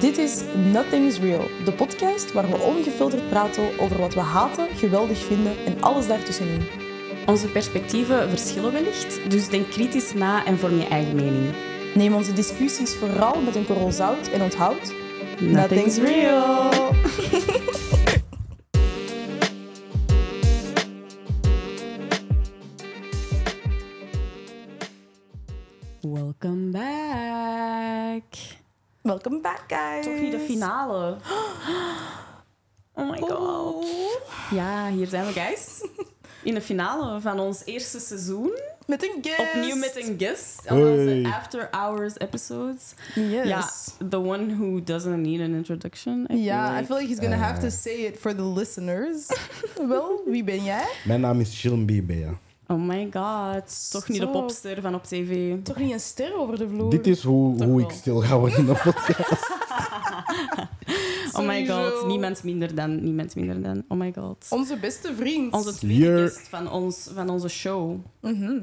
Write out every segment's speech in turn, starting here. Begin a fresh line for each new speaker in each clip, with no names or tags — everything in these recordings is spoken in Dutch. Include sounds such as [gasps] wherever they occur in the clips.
Dit is Nothing is Real, de podcast waar we ongefilterd praten over wat we haten, geweldig vinden en alles daartussenin.
Onze perspectieven verschillen wellicht, dus denk kritisch na en vorm je eigen mening.
Neem onze discussies vooral met een korrel zout en onthoud...
Nothing's real. [laughs] Welcome back.
Welkom back, guys.
Toch niet de finale. Oh my god. Ja, hier zijn we, guys. In de finale van ons eerste seizoen.
Met een guest.
Opnieuw met een guest. Aan onze
Hey.
After Hours episodes.
Yes.
Ja, the one who doesn't need an introduction. I feel
Ja, I
like.
feel like he's gonna have
Eh.
to say it for the listeners. [laughs] Wel, wie ben jij?
Mijn naam is Chilm Bibea.
Oh my god. Toch niet
Zo.
de popster van op tv.
Toch niet een ster over de vloer?
Dit is hoe,
Toch
hoe
wel.
ik stil ga worden
[laughs]
in de podcast.
Oh my
Sowieso.
god. Niemand minder dan. Niemand minder dan. Oh my god.
Onze beste vriend.
Onze tweede
Hier.
guest van, ons, van onze show.
Mhm.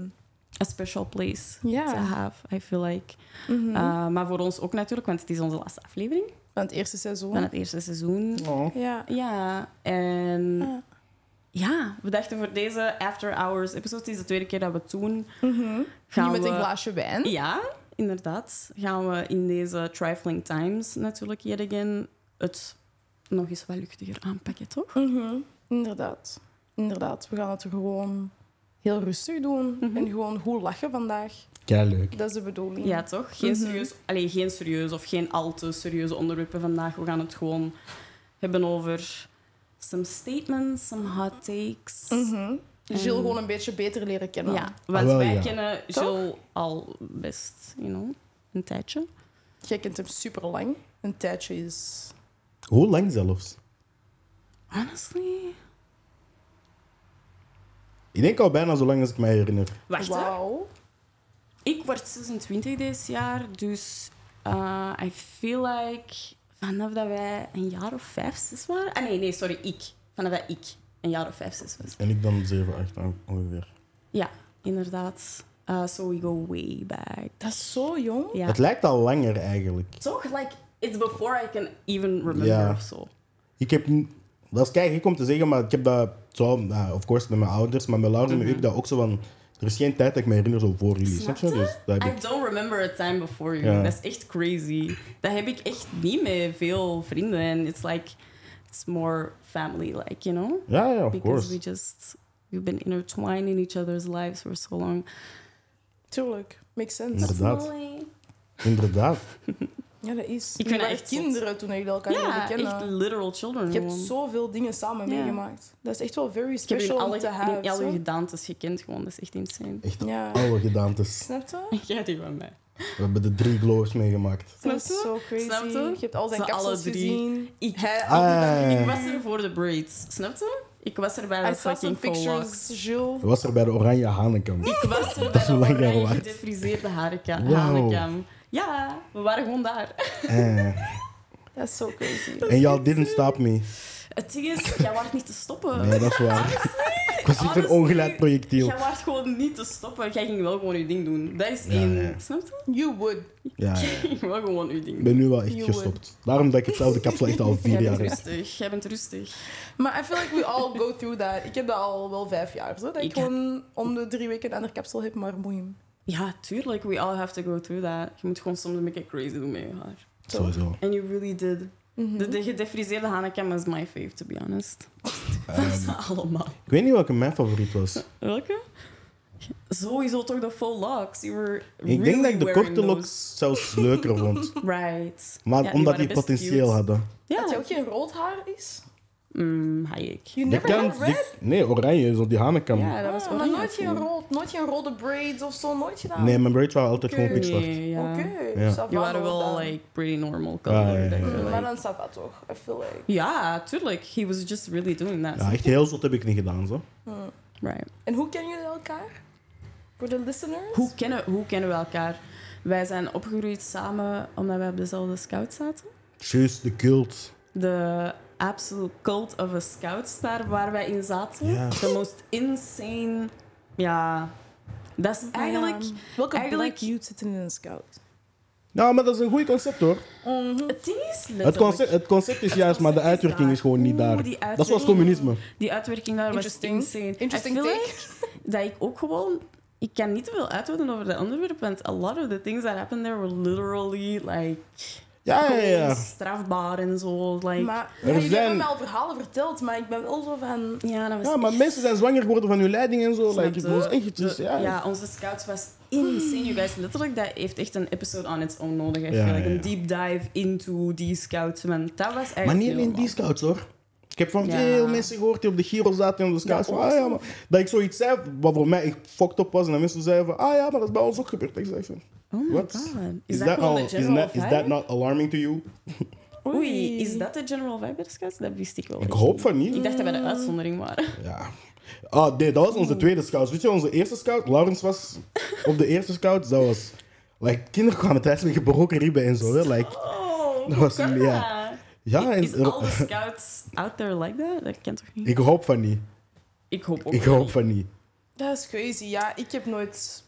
A special place to
Ja.
have, I feel like.
Mhm.
Uh, maar voor ons ook natuurlijk, want het is onze laatste aflevering
Van het eerste
van
seizoen.
het eerste seizoen.
Ja.
Ja, en
Ja.
ja, we dachten voor deze After Hours episode, het is de tweede keer dat we het doen,
Mhm.
gaan
Niet met
we...
een glaasje wijn.
Ja, Hm? inderdaad. Gaan we in deze Trifling Times natuurlijk yet again het nog eens wat luchtiger aanpakken, toch?
Mhm, Inderdaad. Inderdaad. We gaan het gewoon heel rustig doen
Mhm.
en gewoon goed lachen vandaag.
Kei leuk.
Dat is de bedoeling.
Ja, toch? Geen
Mhm.
serieus, allee, geen serieus of geen al te serieuze onderwerpen vandaag. We gaan het gewoon hebben over some statements, some hot takes.
Mhm. Jill
En-
gewoon een beetje beter leren kennen.
Ja, want
Ah, wel,
wij
ja.
kennen
Toch?
Jill al best, you know, een tijdje.
Jij kent hem super lang. Een tijdje is.
Hoe lang zelfs?
Honestly?
Ik denk al bijna zo lang als ik mij herinner.
Wacht, hè.
Wauw.
Ik word 26 dit jaar, dus eh, I feel like vanaf dat wij een jaar of vijf, zes waren. Ah nee, nee, sorry, ik. Vanaf dat ik een jaar of vijf, zes was.
En ik dan 7, 8 aan- ongeveer.
Ja, inderdaad. Eh, so we go way back.
Dat is zo jong.
Ja.
Het lijkt al langer eigenlijk.
Toch, like, it's before I can even remember
Ja.
of zo.
Ik heb. n- Dat is kei gek om te zeggen, maar ik heb dat zo, nou, of course, met mijn ouders, maar met mijn ouders heb ik dat ook zo van. Er is geen tijd dat ik me herinner zo voor jullie. Snap je?
Mhm. Snap je?
Dus dat heb
I
ik.
don't remember a time before you.
Ja.
Dat is echt crazy. Dat heb ik echt niet met veel vrienden. En it's like, it's more family, like, you know?
Ja, ja, of
because we
course.
just we've been intertwined in each other's lives for so long.
Tuurlijk. Makes sense.
Inderdaad. Inderdaad.
Ja, dat is.
vind
Jullie
dat
waren
echt
kinderen toen jullie elkaar leren
Ja,
kennen.
echt literal children.
Je hebt
gewoon.
zoveel dingen samen
Ja.
meegemaakt. Dat is echt wel very
ik heb in
special om
alle,
te hebben.
in alle
zo.
gedaantes gekend, gewoon. Dat is echt
[laughs]
insane.
Echt
Ja.
alle gedaantes.
Snap je?
Ja, die van mij.
We hebben de drie glows meegemaakt.
Snap
Dat is
je?
zo crazy.
Snap je?
Je hebt al zijn
Ze alle
kapsels
drie.
gezien.
Ik,
Hij,
Ah.
ik was er voor de braids, snap je? Ik was er bij
I
de
saw some
fucking full
pictures,
locks.
Jules.
Dat was er bij de Oranje Hanenkamp.
Ik was
[laughs]
er
is hoe lang
bij
jij
de oranje
waart.
gedefriseerde harenka-
Wauw.
hanenkam. Ja, we waren gewoon daar.
Eh,
Dat is zo crazy.
En y'all didn't stop me.
Het ding is, jij was niet te stoppen.
Nee, dat is waar. Ik was niet een
Honestly,
ongeleid projectiel.
Jij was gewoon niet te stoppen. Jij ging wel gewoon je ding doen. Dat is
Ja,
één.
ja.
Snap je?
You would.
Ja, ja.
Jij ging wel gewoon [laughs] je
ik
ding doen.
ben nu wel echt
You
gestopt. Daarom dat ik hetzelfde kapsel echt al
Jij
vier jaar
bent
heb.
rustig. Jij bent rustig.
Maar I feel like we all go through that. Ik heb dat al wel vijf jaar. Zo, dat ik,
Ik heb-
gewoon om de drie weken een ander kapsel heb, maar moeim.
Ja, tuurlijk. We all have to go through that. Je moet gewoon soms een beetje crazy doen met je haar.
Sowieso.
And you really did.
Mhm.
De, de gedefriseerde hanekam is my fave, to be
[laughs]
honest. Van
Ehm,
ze allemaal.
ik weet niet welke mijn favoriet was.
Welke? Sowieso toch de full locks. You were
Ik
really
denk dat ik de
wearing
korte
those.
looks zelfs
[laughs]
leuker vond.
Right.
Maar
Ja, die
omdat
waren
die
best
potentieel
cute.
hadden.
Dat hij
Ja.
ook geen rood haar is.
Mm, Hayek.
You
Die
never
kan,
had
die-
red.
nee, oranje is op die hanenkamp.
Ja, dat was
Ah, maar
oranje
nooit geen
toen.
rood, nooit geen rode braids of zo, nooit gedaan.
Nee, mijn braids waren altijd gewoon
Oké.
pikzwart.
Nee, ja.
Oké,
Ja.
ça
Je
va nog
waren wel
dan. Mm,
like pretty normal
Ah, ja,
color.
ja,
denk
ja.
ik,
Maar
like.
dan ça va toch, I feel like.
Ja, tuurlijk. He was just really doing that.
Ja, echt heel zot heb ik niet gedaan, zo.
Hmm.
Right.
En hoe kennen jullie elkaar? Voor de listeners?
Hoe kennen, hoe kennen we elkaar? Wij zijn opgegroeid samen omdat wij op dezelfde scout zaten.
Juist, de cult.
De absolute cult of a scout daar waar wij in zaten.
Ja.
De most insane... Ja, dat is eigenlijk...
Welke
eigenlijk-
black youth zitten in een scout?
Nou, maar dat is een goed concept hoor.
Het ding is letterlijk...
Het concept, het concept is juist, maar de
concept is
uitwerking
daar.
is gewoon niet
Oeh,
daar.
die
Dat was
uitwerking.
communisme.
Die uitwerking daar was
Interesting.
insane.
Interesting
I feel
take.
like dat ik ook gewoon... Ik kan niet te veel uitweiden over dat onderwerp, want a lot of the things that happened there were literally, like...
Ja, ja,
gewoon
Ah, ja.
strafbaar en zo. Like,
Maar
Er
ja, jullie
zijn-
hebben mij al verhalen verteld, maar ik ben wel zo van...
ja, dat was
Ja, maar
echt-
mensen zijn zwanger geworden van hun leiding en zo.
Snap
Like,
je?
dat is echt iets.
De-
Ja.
ja, onze scouts was insane, you guys. Letterlijk, dat heeft echt een episode on its own nodig. I
Ja,
feel like.
ja,
Een deep dive into die scouts. Want dat was echt
Maar niet
heel
alleen die
lang.
scouts hoor. Ik heb van
Ja.
veel mensen gehoord die op de Giro zaten en op de scouts.
Ja,
van, ah, ja, maar, dat ik zoiets zei, wat voor mij echt fucked up was. En dan mensen zeiden van, ah ja, maar dat is bij ons ook gebeurd. Ik zei van,
Oh my
What?
god. Is,
is
dat
that,
gewoon
al-
de
is,
general
that, is
vibe?
that not alarming to you?
Oei, is dat de general vibe bij de scouts? Dat wist ik wel.
Ik
echt
hoop
niet.
van niet.
Ik dacht dat wij de uitzondering
[laughs]
waren.
Ja. Ah, nee, dat was onze tweede scout. Weet je, onze eerste scout, Laurens was op de eerste scout. Dat was, like, kinderen kwamen thuis met gebroken ribben en zo. Hè? Like,
Oh,
Dat was
hoe kan
een- ja.
dat?
ja, en,
Is all the scouts out there like that? Dat kan toch niet?
ik hoop van niet.
Ik hoop ook
Ik hoop van niet.
Dat is crazy, ja. Ik heb nooit...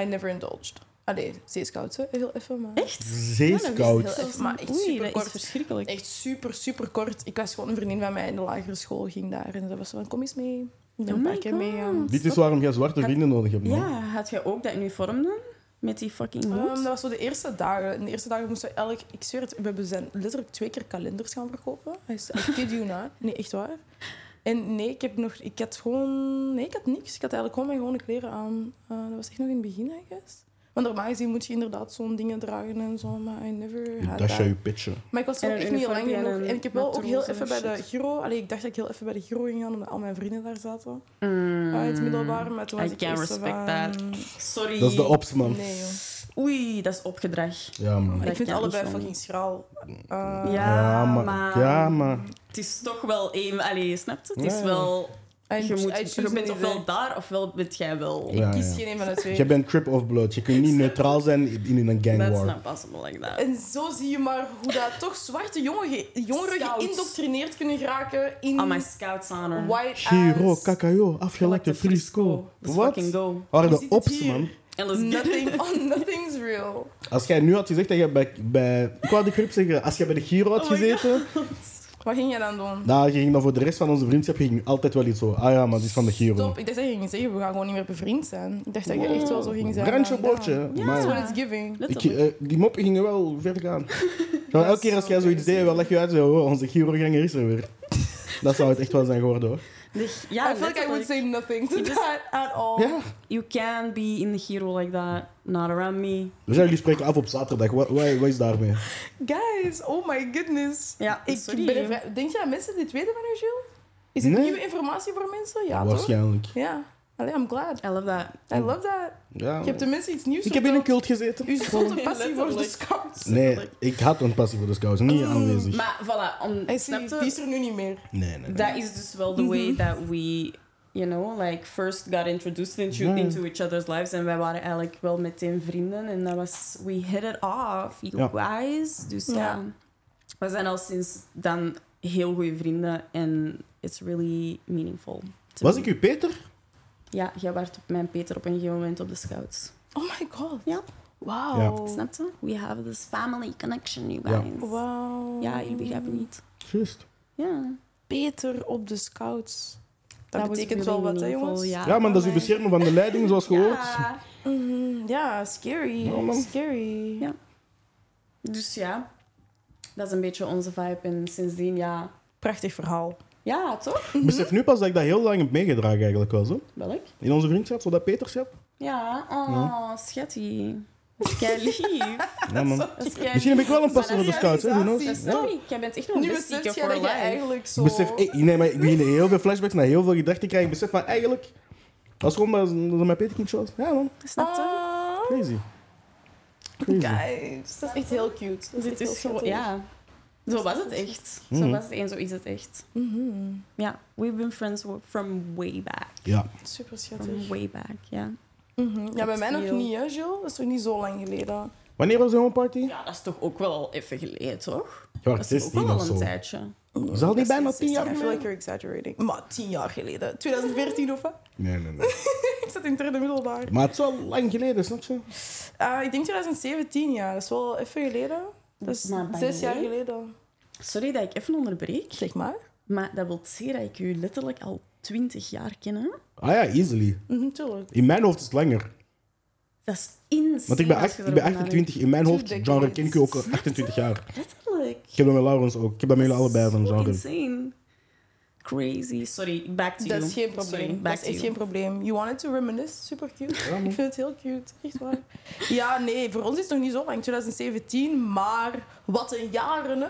I never indulged. Allee, zeeskoud, hè. Heel even, maar...
Echt?
heel
Zeescout.
even, maar echt
Oei, dat is
superkort.
verschrikkelijk.
Echt super, super kort. Ik was gewoon een vriendin van mij in de lagere school, ging daar. En dat was van, kom eens mee. Ik ben
Oh
een paar
my
keer meegegaan.
God.
Dit is waarom jij zwarte vrienden nodig hebt, man.
Ja, had jij ook dat uniform dan? Met die fucking
Ehm,
hoed?
dat was zo de eerste dagen. In de eerste dagen moesten we elk... Ik zweer het, we hebben zijn letterlijk twee keer kalenders gaan verkopen. Hij is- I kid you not. Nee, echt waar. En nee, ik heb nog... Ik had gewoon... Nee, ik had niks. Ik had eigenlijk gewoon mijn gewone kleren aan. Eh, dat was echt nog in het begin, I guess. Want normaal gezien moet je inderdaad zo'n dingen dragen en zo, maar I never had
Dat is
that.
jouw pitje.
Maar ik was
En
ook
een
echt niet lang
uniformpje en
genoeg.
een
En ik heb wel ook heel
matroos en
even bij de
shit.
Giro... Allee, ik dacht dat ik heel even bij de Giro ging gaan, omdat al mijn vrienden daar zaten.
Mm.
Uit het middelbaar, maar toen
I
was ik
can
echt zo
respect
van,
that. Sorry.
Dat is de ops, man.
Nee, joh.
Oei, dat is opgedrag.
Ja, man.
Maar ik vind
kan
allebei
niet van.
fucking schraal. Eh,
Ja,
maar-
maar-
Ja, maar...
Het is toch wel één... Allee, snap je? Het is
Ja.
wel...
I-
Je,
I
moet,
choose
je bent
neither.
ofwel daar, ofwel bent jij wel...
Ja,
Ik kies
ja.
geen een van de
Je
twee.
bent crip of blood. Je kunt niet neutraal zijn in een gang
That's
war.
not possible like that.
En zo zie je maar hoe dat toch zwarte jongen ge- jongeren
Scouts.
geïndoctrineerd kunnen geraken in
All my scouts on her.
white
Giro,
ass.
cacao, afgelakte
Gelakte
frisco.
Let's
Wat?
fucking go.
Waren
Hoe
de
zit het
ops,
hier?
man.
En let's get it.
Nothing, [laughs] oh, nothing's real.
Als jij nu had gezegd dat je bij... bij ik wou de crip zeggen. Als jij bij de Giro had
Oh my
gezeten...
Wat ging jij dan doen?
[laughs] Nou, je ging dan voor de rest van onze vriendschap je ging altijd wel iets zo... Ah ja, maar die is van de Giro.
Stop, ik dacht dat je ging zeggen, we gaan gewoon niet meer bevriend zijn. Ik dacht dat je echt wel zo ging zijn.
Brandje
van,
bordje.
"Damn,
Maar-
That's what it's giving.
Ik,
Letterlijk.
eh, die moppen gingen wel ver gaan. Maar elke keer als
zo
jij zoiets
crazy.
deed, wel leg je uit. Zo, oh, onze Giro-ganger is er weer. [laughs] Dat zou het echt wel zijn geworden, hoor.
De- Ja,
I feel like I would
letterlijk.
say nothing to
You just-
that at all.
Ja.
You can be in the hero like that, not around me.
We zijn jullie spreken af op zaterdag. Wat, wat, wat is daarmee?
Guys, oh my goodness.
Ja,
Ik
sorry.
ben er vrij- Denk je dat mensen dit weten van jou, Jules? Is dit
Nee.
nieuwe informatie voor mensen? Ja, toch?
Waarschijnlijk.
Ja. Allee, I'm glad.
I love that.
I love that.
Ja.
Je hebt tenminste iets nieuws
Ik heb in een cult gezeten.
U
[laughs]
zotte passie voor de
Letterlijk.
scouts.
[laughs] Nee, ik had een passie voor de scouts. Niet aanwezig.
Maar voilà, om,
Hij
snap
ziet,
je?
die is er nu niet meer.
Nee, nee, nee.
That is just well the way that we, you know, like first got introduced into,
Ja.
into each other's lives. En wij waren eigenlijk wel meteen vrienden. En dat was, we hit it off, you guys. Dus ja.
Ja.
we zijn al sinds dan heel goede vrienden. En it's really meaningful. to
Was
me.
ik uw Peter?
Ja, jij werd op mijn Peter op een gegeven moment op de scouts.
Oh my god.
Ja.
Wauw.
Snap je? We have this family connection, you
Ja.
guys.
Wauw.
Ja, jullie begrijpen niet.
Juist.
Ja.
Beter op de scouts. Dat,
was
betekent
really
wel wat, hè,
meaningful,
jongens?
Ja.
Ja, maar dat is uw beschermen van de leiding, zoals gehoord.
[laughs] Ja.
Mhm, ja, scary.
Ja, man.
scary.
Ja. Dus ja, dat is een beetje onze vibe. En sindsdien, ja.
Prachtig verhaal.
Ja, toch?
Ik Besef nu pas dat ik dat heel lang heb meegedragen, eigenlijk wel zo.
Welk?
In onze vriendschap, zo dat Peterschap.
Ja, oh, schatje. Kijk lief.
Ja, man.
Dat is kei
Misschien heb ik wel een
lief.
passie voor de scouts, hè? Who knows?
Dat is
Ja.
toch niet- Jij bent echt nog een
Nu
bestie
besef jij
voor
dat je
life.
eigenlijk zo...
Ik Besef, ik, nee, maar ik begin heel veel flashbacks naar heel veel gedachten te krijgen. Ik besef van eigenlijk, dat is gewoon maar dat mijn peterkindje was. Ja man,
Snap je?
Ah,
crazy. Crazy.
guys. Dat is echt heel cute. Dat is echt
Dit
heel
Dus is gewoon,
schattig.
ja. Zo was het echt. Zo
Mhm.
was het en zo is het echt.
Mhm.
Ja, we've been friends wo- from way back.
Ja.
Super
From
schattig.
way back, ja.
Mhm. Ja, bij mij nog
Heel-
niet, hè, Jules? Dat is toch niet zo lang geleden?
Wanneer was de homeparty?
Ja, dat is toch ook wel even geleden, toch?
Je
Dat
was
is ook wel
16 of
al een
zo.
tijdje.
Is dat niet bijna 10 jaar
I feel like
geleden?
you're exaggerating. Maar tien jaar geleden. 2014 of wat? [laughs]
Nee, nee, [laughs] nee.
Ik zat in het derde middelbaar.
Maar het is wel lang geleden, snap je?
Ah, ik denk 2017, ja. Dat is wel even geleden. Dat is
Maar bij
zes jaar
mij?
geleden.
Sorry dat ik even onderbreek,
Zeg maar.
maar dat wil zeggen dat ik u letterlijk al 20 jaar ken. hè?
Ah ja, easily.
Mhm, tuurlijk.
In mijn hoofd is het langer.
Dat is insane.
Want ik ben,
als
acht-
je
ik ben
erover nadenkt.
28. In mijn hoofd,
Two
genre,
decades.
ken ik u ook
[laughs]
al 28 jaar.
Letterlijk.
Ik heb dat met Laurens ook. Ik heb dat met jullie allebei van
Zo
genre.
insane. Crazy. Sorry, back to
Dat
you.
is geen
Sorry,
probleem.
back
Dat is echt
to
geen
you.
probleem. You wanted to reminisce? Super cute.
Ja, man.
Ik vind het heel cute. Echt waar. Ja, nee, voor ons is het nog niet zo lang. 2017, maar wat een jaren, hè.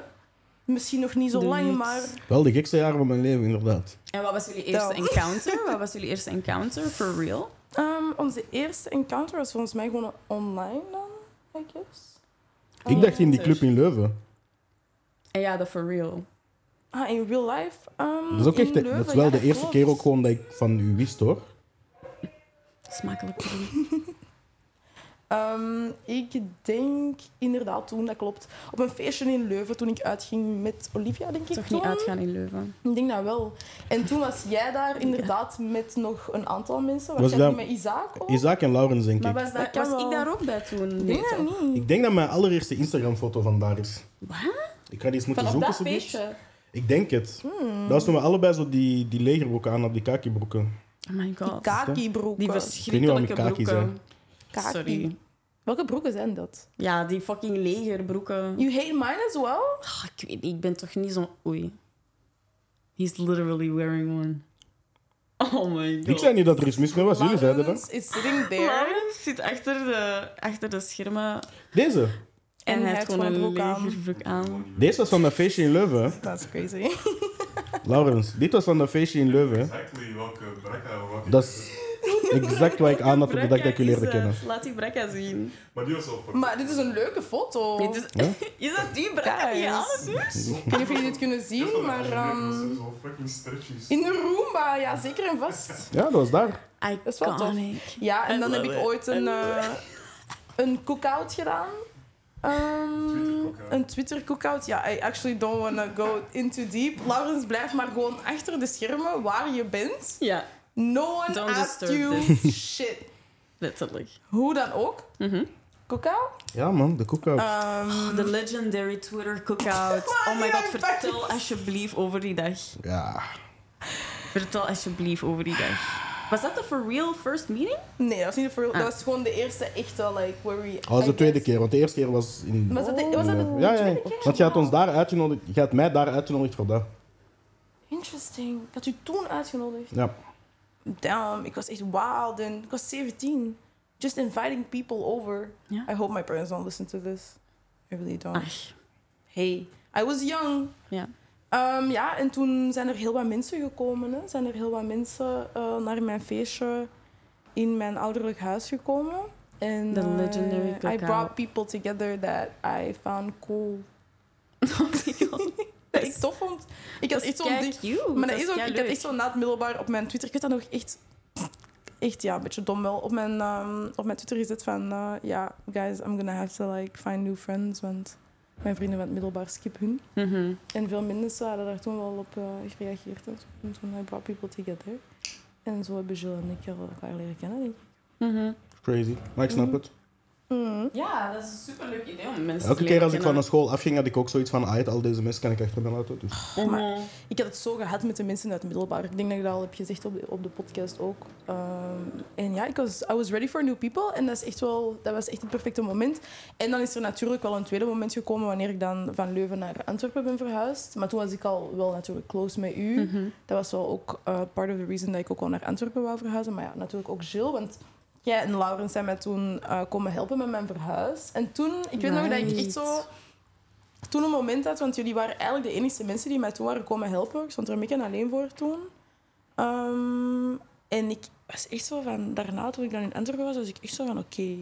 Misschien nog niet zo
Doe
lang,
iets.
maar...
Wel de gekste jaren van mijn leven, inderdaad.
En wat was jullie eerste
Daarom.
encounter? Wat was jullie eerste encounter? For real?
Ehm, onze eerste encounter was volgens mij gewoon online dan, I guess.
Oh,
Ik dacht in die club in Leuven.
En ja, dat for real.
Ah, in real life. ehm,
Dat is ook
in
echt, de- dat
Leuven,
is wel
ja,
de eerste
klopt.
keer ook gewoon dat ik van u wist hoor.
Smakelijk.
[laughs] Ehm, ik denk inderdaad toen, dat klopt. Op een feestje in Leuven toen ik uitging met Olivia, denk ik.
Toch niet
toen.
uitgaan in Leuven.
Ik denk dat wel. En toen was jij daar inderdaad met nog een aantal mensen. Was,
Was
jij
dat-
toen met Isaac ook?
Isaac en Laurens, denk
Maar
ik.
was,
Dat
dat,
kan
was
wel.
ik daar ook bij toen?
Ik
Nee,
denk dat
toch?
niet.
Ik denk dat mijn allereerste Instagram-foto van daar is.
Wat?
Ik ga die eens moeten
Van op
zoeken.
dat
zo'n beetje.
feestje?
Ik denk het.
Hmm.
Dat was toen we allebei zo die, die legerbroeken aan, op die kakibroeken.
Oh my god.
Kaki-broeken.
Die
niet waarom
verschrikkelijke
ik kaki
broeken.
Kaki.
Sorry.
Welke broeken zijn dat?
Ja, die fucking legerbroeken.
You hate mine as well?
Ah, ik weet niet, ik ben toch niet zo'n... Oei. He's literally wearing one. Oh my god.
Ik zei niet dat er iets mis mee was, jullie zeiden dat.
Laurens is sitting there.
Laurens zit achter de, achter de schermen
Deze.
en, hij heeft gewoon een legerbroek aan.
Deze was van dat feestje in Leuven.
[laughs]
hè.
That's crazy.
Laurens, dit was van dat feestje in Leuven. hè.
Exactly welke brekka welke.
Dat is exact wat ik aan had op de dag dat ik jullie leerde
Brekka is,
kennen.
eh, Laat die brekka zien.
Maar die was al fucking.
Maar dit is een leuke foto.
Dit is, [laughs] is dat die brekka die je aan het doen?
Ik weet niet of jullie dit kunnen
Die was al
zien, maar...
Amerikaanse,
ehm,
dat is wel fucking stretchies.
in de Roomba, ja, zeker en vast.
Ja, dat was daar.
Dat is wel tof.
Iconic.
Ja, en
I
dan heb
love
ik
it.
ooit een,
I love
eh, een cookout gedaan. Ehm,
Twitter-cookout.
een Twitter cookout. Ja, I actually don't wanna go in too deep. Laurens, blijf maar gewoon achter de schermen waar je bent.
Ja,
No one
Don't
asked
disturb
you shit.
letterlijk.
Hoe dan ook.
Mhm.
Cookout?
Ja, man, de cookout.
Ehm,
De Oh, legendary Twitter cookout. Oh my
Ja,
god,
ik
vertel alsjeblieft over die dag.
Ja.
Vertel alsjeblieft over die dag. Was dat de for real first meeting?
nee, dat was niet de voor.
Ah.
Dat was gewoon de eerste echte, like, where we...
Oh, Dat was
I
de tweede
guess-
keer, want de eerste keer was in.
Was dat de- was dat de
Ja, ja, ja.
tweede keer?
Want je had, ons daar uitgenodigd, je had mij daar uitgenodigd voor dat.
Interesting. Ik had u toen uitgenodigd.
Ja.
Damn, ik was echt wild en ik was 17. Just inviting people over.
Ja.
I hope my parents don't listen to this. I really don't. [laughs]
Ach,
Hey, I was young.
ja.
Ehm, ja, en toen zijn er heel wat mensen gekomen. Hè. Zijn er heel wat mensen eh, naar mijn feestje in mijn ouderlijk huis gekomen. En
The
eh,
legendary
I
cookout.
brought people together that I found
[laughs]
cool. Dat [laughs] ik tof vond. Ik had echt zo'n
kei
ding.
cute.
Maar dat is ook,
kei
ik had
leuk.
echt zo na het middelbaar op mijn Twitter, ik had dat nog echt, echt ja, een beetje dom wel, op mijn, ehm, op mijn Twitter gezet van, eh, ja, guys, I'm gonna have to like find new friends, want mijn vrienden van het middelbaar skip hun.
Mhm.
En veel mensen hadden daar toen wel op eh, gereageerd en zo. En toen I brought people together. En zo hebben Jill en ik elkaar leren kennen, denk ik.
Mhm.
Crazy. Maar ik snap het.
Mhm.
Ja, dat is een superleuk idee om
Dus
mensen
Elke
te
keer
leren
als ik van de
kennen.
school afging, had ik ook zoiets van: ah, het, al deze mensen kan ik achter me laten. Dus.
Mhm.
Ik had het zo gehad met de mensen uit het middelbaar. Ik denk dat ik dat al heb gezegd op de, op de podcast ook. Ehm, en ja, ik was, I was ready for new people. En dat, is echt wel, dat was echt het perfecte moment. En dan is er natuurlijk wel een tweede moment gekomen wanneer ik dan van Leuven naar Antwerpen ben verhuisd. Maar toen was ik al wel natuurlijk close met u.
Mhm.
Dat was wel ook eh, part of the reason dat ik ook al naar Antwerpen wou verhuizen. Maar ja, natuurlijk ook Jill. Want jij en Laurens zijn mij toen eh, komen helpen met mijn verhuis. En toen, ik weet nog dat ik echt
Right.
zo... Toen een moment had, want jullie waren eigenlijk de enige mensen die mij toen waren komen helpen. Ik stond er een beetje alleen voor toen. Ehm, en ik was echt zo van... Daarna, toen ik dan in Antwerpen was, was ik echt zo van... Oké,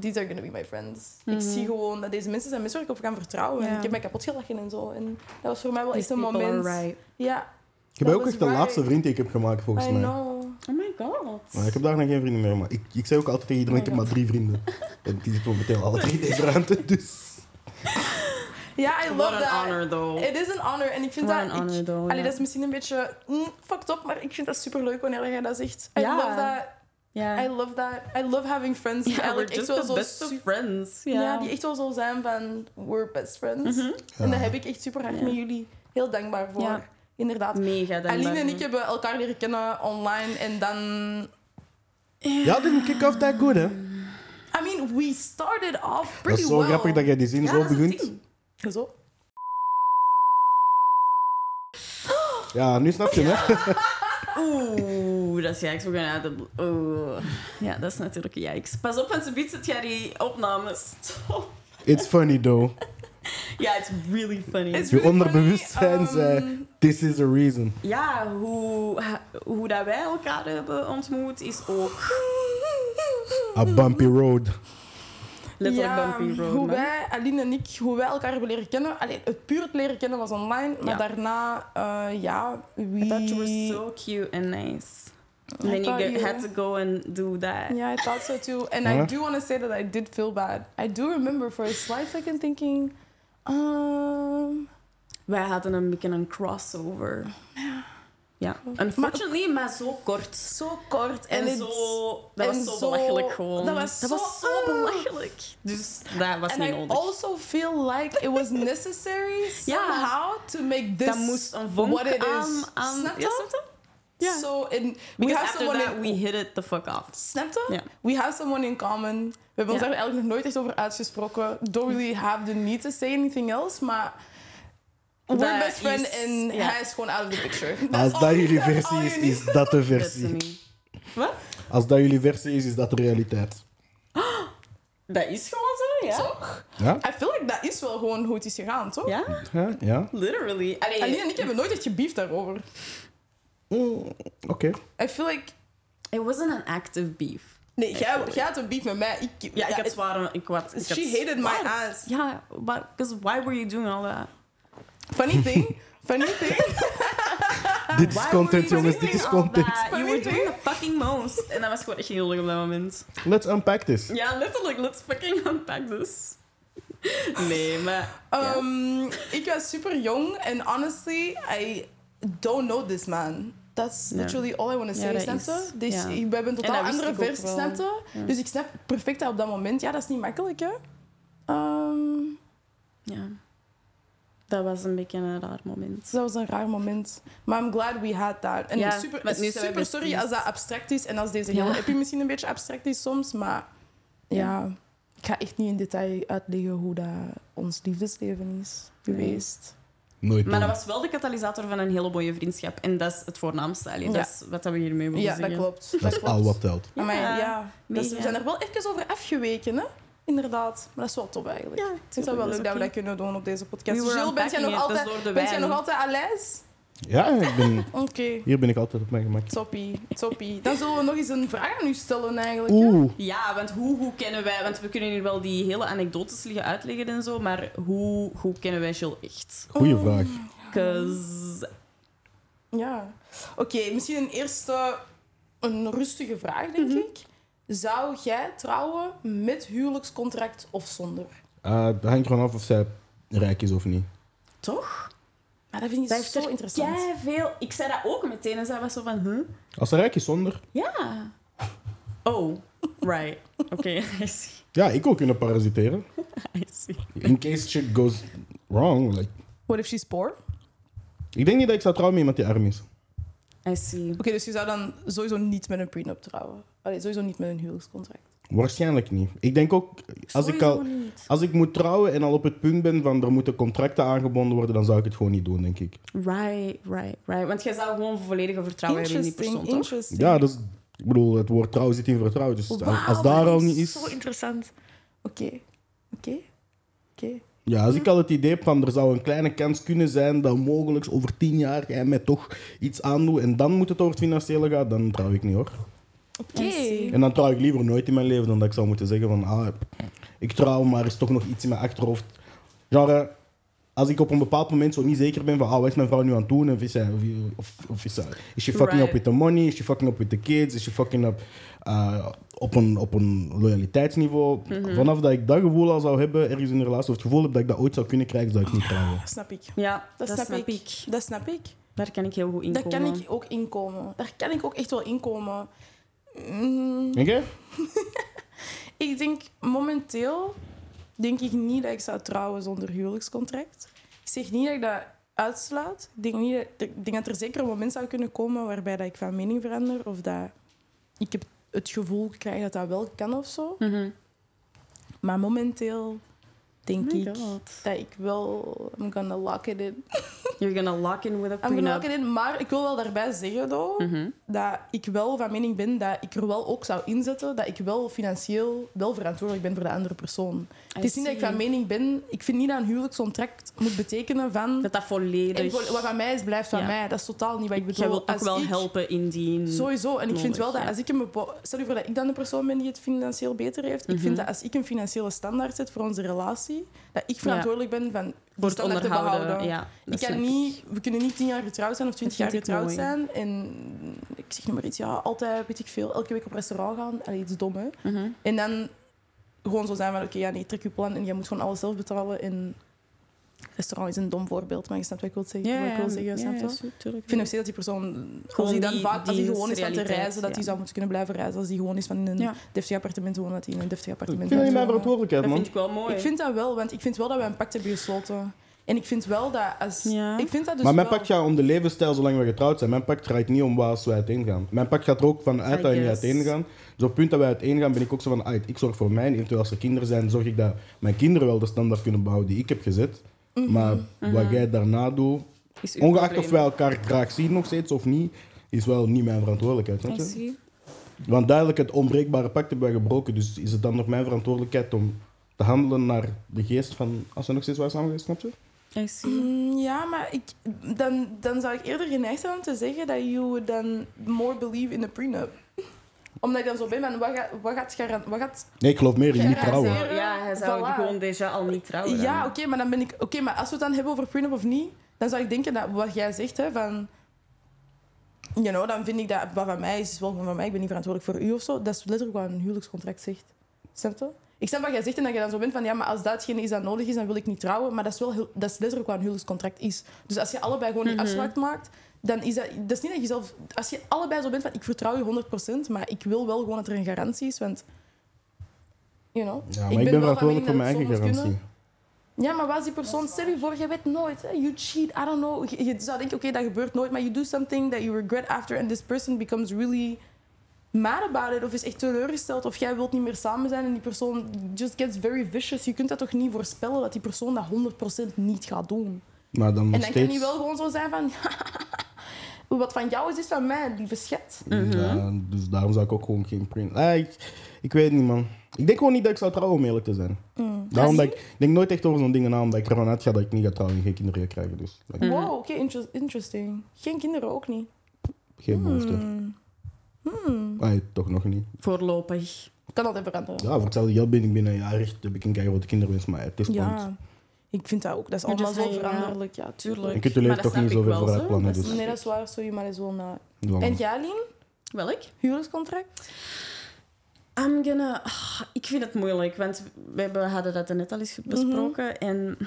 these are gonna be my friends.
Mhm.
Ik zie gewoon dat deze mensen zijn mensen waar ik op kan vertrouwen. En
Ja.
ik heb mij kapot gelachen en zo. En dat was voor mij wel
These
echt een
people are
moment...
right.
Ja,
Ik ben
Dat
ook
was
echt de
waar.
laatste vriend die ik heb gemaakt, volgens
I
mij.
know.
Oh my god.
Maar ik heb daar nog geen vrienden meer. Maar ik, ik zei ook altijd
Oh
tegen iedereen: ik heb maar drie vrienden. En die zitten momenteel alle drie in deze ruimte. Dus.
Ja, I
What
love
an
that.
honor, though.
It is een honor. En ik vind
What
dat...
an
ik-
honor, though,
allee,
ja.
dat is misschien een beetje mm, fucked up, maar ik vind dat superleuk wanneer jij dat zegt. I
Ja.
love that.
Ja.
I love that. I love having friends die
Ja,
eigenlijk
we're
echt
just
wel
the
zo
best
su-
of friends. Ja, Mhm.
ja. die echt wel zo zijn van we're best friends. En daar heb ik echt super hard
Ja.
met jullie heel dankbaar voor.
Ja.
Inderdaad.
mega dankbaar.
Aline en ik hebben elkaar leren kennen online en dan...
Ja, didn't kick off that good, hè?
I mean, we started off pretty
Dat is zo
well.
grappig dat jij die zin
Ja,
zo
dat is het
begint.
ding.
Zo.
Ja, nu snap je hem, hè?
Oeh, dat is ja, ik zo gaan uit de... bl- Oeh.
[laughs]
Ja, dat is natuurlijk jijks. Pas op, want ze biedt het jij die opnames. [laughs] Stop.
It's funny, though.
Ja, it's really funny.
It's
Je
really
onderbewustzijn
funny,
zei,
ehm,
this is a reason.
Ja, hoe, ha- hoe dat wij elkaar hebben ontmoet is
ehm,
ook
A bumpy road.
letterlijk
ja,
bumpy road.
Hoe
man.
wij, Aline en ik, hoe wij elkaar hebben leren kennen. Allee, het puur het leren kennen was online, maar
Ja.
daarna, eh, ja, we...
I thought you were so cute and nice. And
I
then you
thought
get,
you-
had to go and do that.
Yeah, I thought so too. And
Huh?
I do want to say that I did feel bad. I do remember for a slight second thinking, um,
Wij hadden een beetje een crossover. Ja. Unfortunately, maar, zo kort.
zo kort
En,
it's-
zo... Dat
en
was zo
zo-
belachelijk gewoon.
dat was zo-
was zo belachelijk. Dus dat was
And
niet
I
nodig.
also feel like it was
[laughs]
necessary somehow to make this
dat moest een vonk
what it
aan...
is.
aan
Snap je?
ja, snap je? ja.
So in, we
Because
have
after
someone
that,
in,
we hit it the fuck off.
Snap je?
Ja.
We have someone in common. We hebben ons
Ja.
daar eigenlijk nog nooit echt over uitgesproken. Don't really have the need to say anything else, maar... We're
Dat
best friend
is-
en
ja.
hij is gewoon out of the picture.
Als
That's all
dat
you-
jullie
that's
versie
all
is,
you need.
is dat de
That's
versie.
me. Wat?
Als dat jullie versie is, is dat de realiteit.
Dat is gewoon zo, ja.
[laughs] Toch?
Ja?
I feel like dat is wel gewoon hoe het is gegaan, toch?
Ja,
Ja? ja.
literally. Allee,
Aline en ik hebben nooit echt gebiefd daarover.
Mm, Oké.
I feel like...
It wasn't an active beef.
Nee, jij, jij had een beef met mij. Ik,
Ja, ik had
it-
zware... Ik had, ik had
She hated my ass.
Ja, but because why were you doing all that?
Funny [laughs] thing. Funny thing.
Dit is
Why
content,
were you
jongens. Dit
doing
is
all
content.
that? You were doing the fucking most. En dat was gewoon echt heel leuk op dat moment.
Let's unpack this.
Ja, letterlijk, let's fucking unpack this. Nee, maar... ja.
Um, Ik was super jong en honestly, I don't know this man. That's
Nee.
literally all I want to say,
dat
snap
is-
je? Dus
ja.
ik- we hebben een
En
totaal
dat wist
andere
ik ook
versie,
wel.
snap je? Dus ik snap perfect dat op dat moment. Ja, dat is niet makkelijk, hè? Ehm,
ja. Dat was een beetje een raar moment.
dus dat was een raar moment. Maar I'm glad we had that. En
Ja,
super,
maar nu zijn we
super
besties.
sorry als dat abstract is en als deze
Ja.
hele epi misschien een beetje abstract is soms, maar ja. Ik ga echt niet in detail uitleggen hoe dat ons liefdesleven is
Nee.
geweest.
Nooit
Maar dat
doen.
was wel de katalysator van een hele mooie vriendschap. En dat is het voornaamste. Allee,
Ja.
Dat is wat dat we hiermee willen
Ja, dat
zeggen.
klopt.
Dat is
klopt.
al wat telt.
Ja,
Ja,
maar ja. dat is- we
mega.
zijn er wel even over afgeweken, hè? Inderdaad. Maar dat is wel top eigenlijk.
Ja,
ik vind het wel leuk dat we dat kunnen doen op deze podcast.
We were
Jill, bent jij nog
unpacking it,
altijd,
dat is door de
bent jij
wijn.
nog altijd Alice?
Ja, ik ben,
Oké.
hier ben ik altijd op mijn gemak.
Toppie, toppie. Dan zullen we nog eens een vraag aan u stellen eigenlijk. hè?
Oeh.
Ja, want hoe goed kennen wij... Want we kunnen hier wel die hele anekdotes liggen uitleggen en zo, maar hoe goed kennen wij Jill echt?
Goeie vraag.
Cause...
Ja. Oké, misschien een eerste, een rustige vraag, denk
Mhm.
ik. Zou jij trouwen met huwelijkscontract of zonder?
Eh, Het hangt gewoon af of zij rijk is of niet.
Toch?
Maar dat vind ik zo interessant.
veel. Ik zei dat ook meteen en zij was zo van, huh?
Als ze rijk is, zonder.
Ja. Oh, right. Oké, [laughs] I see.
Ja, ik wil kunnen parasiteren.
I see.
In case shit goes wrong. Like.
What if she's poor? Oké,
Ik denk niet dat ik zou trouwen met iemand die arm is.
I see.
dus je zou dan sowieso niet met een prenup trouwen. Allee, sowieso niet met een huwelijkscontract.
Waarschijnlijk niet. Ik denk ook, als ik, al, als ik moet trouwen en al op het punt ben van er moeten contracten aangebonden worden, dan zou ik het gewoon niet doen, denk ik.
Right, right, right. Want jij zou gewoon volledige vertrouwen hebben in die persoon, toch?
interesting.
Ja, dat is, ik bedoel, het woord trouw zit in vertrouwen. Dus als- als daar al niet is.
Zo interessant. Oké, oké, oké.
Ja, als ik al het idee heb van er zou een kleine kans kunnen zijn dat mogelijk over tien jaar jij mij toch iets aandoet en dan moet het over het financiële gaan, dan trouw ik niet hoor.
Oké.
En dan trouw ik liever nooit in mijn leven dan dat ik zou moeten zeggen van ah, ik trouw, maar er is toch nog iets in mijn achterhoofd. Genre, als ik op een bepaald moment zo niet zeker ben van, ah, wat is mijn vrouw nu aan het doen? Of is, zij, of, of is, zij- is she fucking up
Right.
with the money? Is she fucking up with the kids? Is she fucking up eh, op, een, op een loyaliteitsniveau? Vanaf dat ik dat gevoel al zou hebben, ergens in een relatie, of het gevoel heb dat ik dat ooit zou kunnen krijgen, zou ik niet trouwen.
Dat snap ik.
Ja,
Dat, snap, ik. Dat snap ik.
Daar kan ik heel goed in
Daar kan
komen.
ik ook inkomen. Daar kan ik ook echt wel inkomen. Mm,
Oké?
ik denk momenteel denk ik niet dat ik zou trouwen zonder huwelijkscontract. Ik zeg niet dat ik dat uitslaat. Ik denk, niet dat, ik denk dat er zeker een moment zou kunnen komen waarbij dat ik van mening verander of dat ik heb het gevoel krijg dat dat wel kan of zo.
Mhm.
Maar momenteel denk
Oh my
ik
God.
dat ik wel I'm gonna lock it in.
You're gonna lock in with a
I'm gonna lock
prenup.
it in, maar ik wil wel daarbij zeggen though,
nou. Mhm.
dat ik wel van mening ben dat ik er wel ook zou inzetten dat ik wel financieel wel verantwoordelijk ben voor de andere persoon. het is niet dat ik
see.
van mening ben. Ik vind niet dat een huwelijkscontract moet betekenen van.
Dat dat
en
volledig...
voor- wat van mij is, blijft van
Ja.
mij. Dat is totaal niet wat ik bedoel.
Jij wilt toch
Als
wel
ik-
helpen indien...
Sowieso. En ik vind
nodig,
wel dat
ja.
als ik een bepo- Stel je voor dat ik dan de persoon ben die het financieel beter heeft. Ik
Mhm.
vind dat als ik een financiële standaard zet voor onze relatie, dat ik verantwoordelijk ben van die
voor het
standaard te
onderhouden.
behouden.
Ja,
Ik
dat
kan
snap
niet, we kunnen niet tien jaar getrouwd zijn of twintig
Dat
jaar
vind ik
getrouwd
mooi.
zijn. En ik zeg nu maar iets, ja, altijd, weet ik veel, elke week op restaurant gaan. Allee, iets dom, hè.
Mhm.
En dan gewoon zo zijn van, oké, ja, nee, trek je plan en jij moet gewoon alles zelf betalen. En restaurant is een dom voorbeeld, maar je snapt wat ik wil zeggen. wat ik wil zeggen snap je? Ik vind nog steeds dat die persoon,
Gewoon
als die dan
die-
vaak, als
die
die gewoon is van te
realiteit,
reizen, dat die
ja.
zou moeten kunnen blijven reizen. Als die gewoon is van in een
Ja.
deftig appartement wonen, dat hij in een deftig
Ik
appartement
vind dat niet mijn
wonen.
verantwoordelijkheid,
Dat
man.
vind ik wel mooi.
Ik vind dat wel, want ik vind wel dat wij een pact hebben gesloten. En ik vind wel dat als...
Ja.
Ik vind dat dus
maar mijn
wel-
pact gaat om de levensstijl zolang we getrouwd zijn. Mijn pact draait niet om waar als wij uiteen gaan. Mijn pact gaat er ook van uit
I
dat je niet
guess.
uiteen gaan. Dus op het punt dat wij uiteen gaan, ben ik ook zo van, ah, ik zorg voor mij. En eventueel als er kinderen zijn, zorg ik dat mijn kinderen wel de standaard kunnen behouden die ik heb gezet.
Mm.
Maar wat jij daarna doet,
Is Mhm. uw
ongeacht
probleem.
of wij elkaar graag zien nog steeds of niet, is wel niet mijn verantwoordelijkheid. snap
I
je?
see.
Want duidelijk, het onbreekbare pact hebben wij gebroken. Dus is het dan nog mijn verantwoordelijkheid om te handelen naar de geest van als we nog steeds waren samen, snap je?
I see.
Mm, Ja, maar ik, dan, dan zou ik eerder geneigd zijn om te zeggen dat you dan more believe in the prenup. [laughs] Omdat ik dan zo ben van, wat gaat, wat gaat, garan- wat gaat
Nee, ik geloof meer in
Ja,
niet
hij
trouwen.
zei-
Ja, hij zou
eh, Voilà.
gewoon deze al niet trouwen. dan.
Ja, oké, maar dan ben ik. Oké, maar als we het dan hebben over prenup of niet, dan zou ik denken dat wat jij zegt, hè, van. You know, dan vind ik dat wat van mij is, is wel gewoon van mij. Ik ben niet verantwoordelijk voor u of zo. Dat is letterlijk wat een huwelijkscontract zegt. Snap je? Ik snap wat jij zegt en dat je dan zo bent van ja, maar als dat hetgene is dat nodig is, dan wil ik niet trouwen. Maar dat is wel heel- dat is letterlijk wat een huwelijkscontract is. Dus als je allebei gewoon die afspraak maakt, dan is dat. Dat is niet dat je zelf. Als je allebei zo bent van ik vertrouw je 100%, maar ik wil wel gewoon dat er een garantie is. Want. You know,
Ja, maar ik ben,
wel van
verantwoordelijk voor mijn
mening
eigen
dat het zo moet kunnen.
garantie.
Ja, maar was die persoon, stel je voor, je weet nooit. Hè? You cheat, I don't know. Je, je zou denken, oké, dat gebeurt nooit, maar you do something that you regret after and this person becomes really mad about it of is echt teleurgesteld of jij wilt niet meer samen zijn en die persoon just gets very vicious. Je kunt dat toch niet voorspellen dat die persoon dat 100% niet gaat doen.
Maar dan nog
en dan kan je
steeds.
wel gewoon zo zijn van... [laughs] Wat van jou is, is van mij, lieve schat.
Ja, dus daarom zou ik ook gewoon geen print. Ah, ik, ik weet niet, man. Ik denk gewoon niet dat ik zou trouwen, om eerlijk te zijn.
Mm.
Daarom dat ik, ik denk nooit echt over zo'n dingen na, omdat ik ervan uitga dat ik niet ga trouwen en geen kinderen ga krijgen. Dus like,
Wow, oké, inter- interesting. Geen kinderen ook niet.
geen behoefte.
Mm.
Ah, toch nog niet.
Voorlopig.
Kan altijd veranderen.
Ja, voor hetzelfde geld ben ik binnen een jaar echt, heb ik een keigrote kinderwens, maar het is punt.
Ja, ik vind dat ook. Dat is
Maar
allemaal
just
zo
hanging out.
veranderlijk. Ja, tuurlijk.
Je kunt je
Maar
leven
dat snap
toch niet
ik
zo ver
wel,
vooruit
zo.
plannen.
Dat
Dus,
is
Nee, dat is waar. Sorry, maar dat is wel na.
Ja,
En
man.
jij, Lien?
Welk?
Huwelijkscontract?
I'm gonna... ah, ik vind het moeilijk, want we hebben- we hadden dat net al eens besproken. En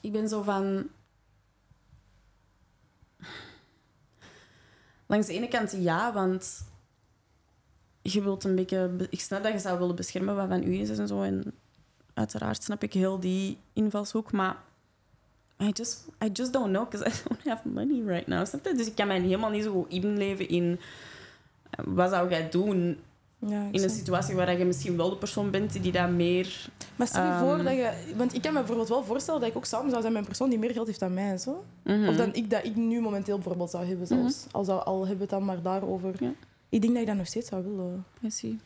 ik ben zo van... Langs de ene kant ja, want je wilt een beetje... be- Ik snap dat je zou willen beschermen wat van u is en zo. En uiteraard snap ik heel die invalshoek, maar... I just, I just don't know, because [laughs] I don't have money right now. Snap je? Dus ik kan mij helemaal niet zo goed inleven in eh, wat zou jij doen
Ja, ik
in een
snap.
situatie waar je misschien wel de persoon bent die daar meer...
Maar stel je
Ehm.
voor dat je... Want ik kan me bijvoorbeeld wel voorstellen dat ik ook samen zou zijn met een persoon die meer geld heeft dan mij. en Zo.
Mhm.
Of dan ik, dat ik nu momenteel bijvoorbeeld zou hebben. Zelfs. al, zou, al hebben we het dan maar daarover.
Ja.
Ik denk dat ik dat nog steeds zou willen.
I see.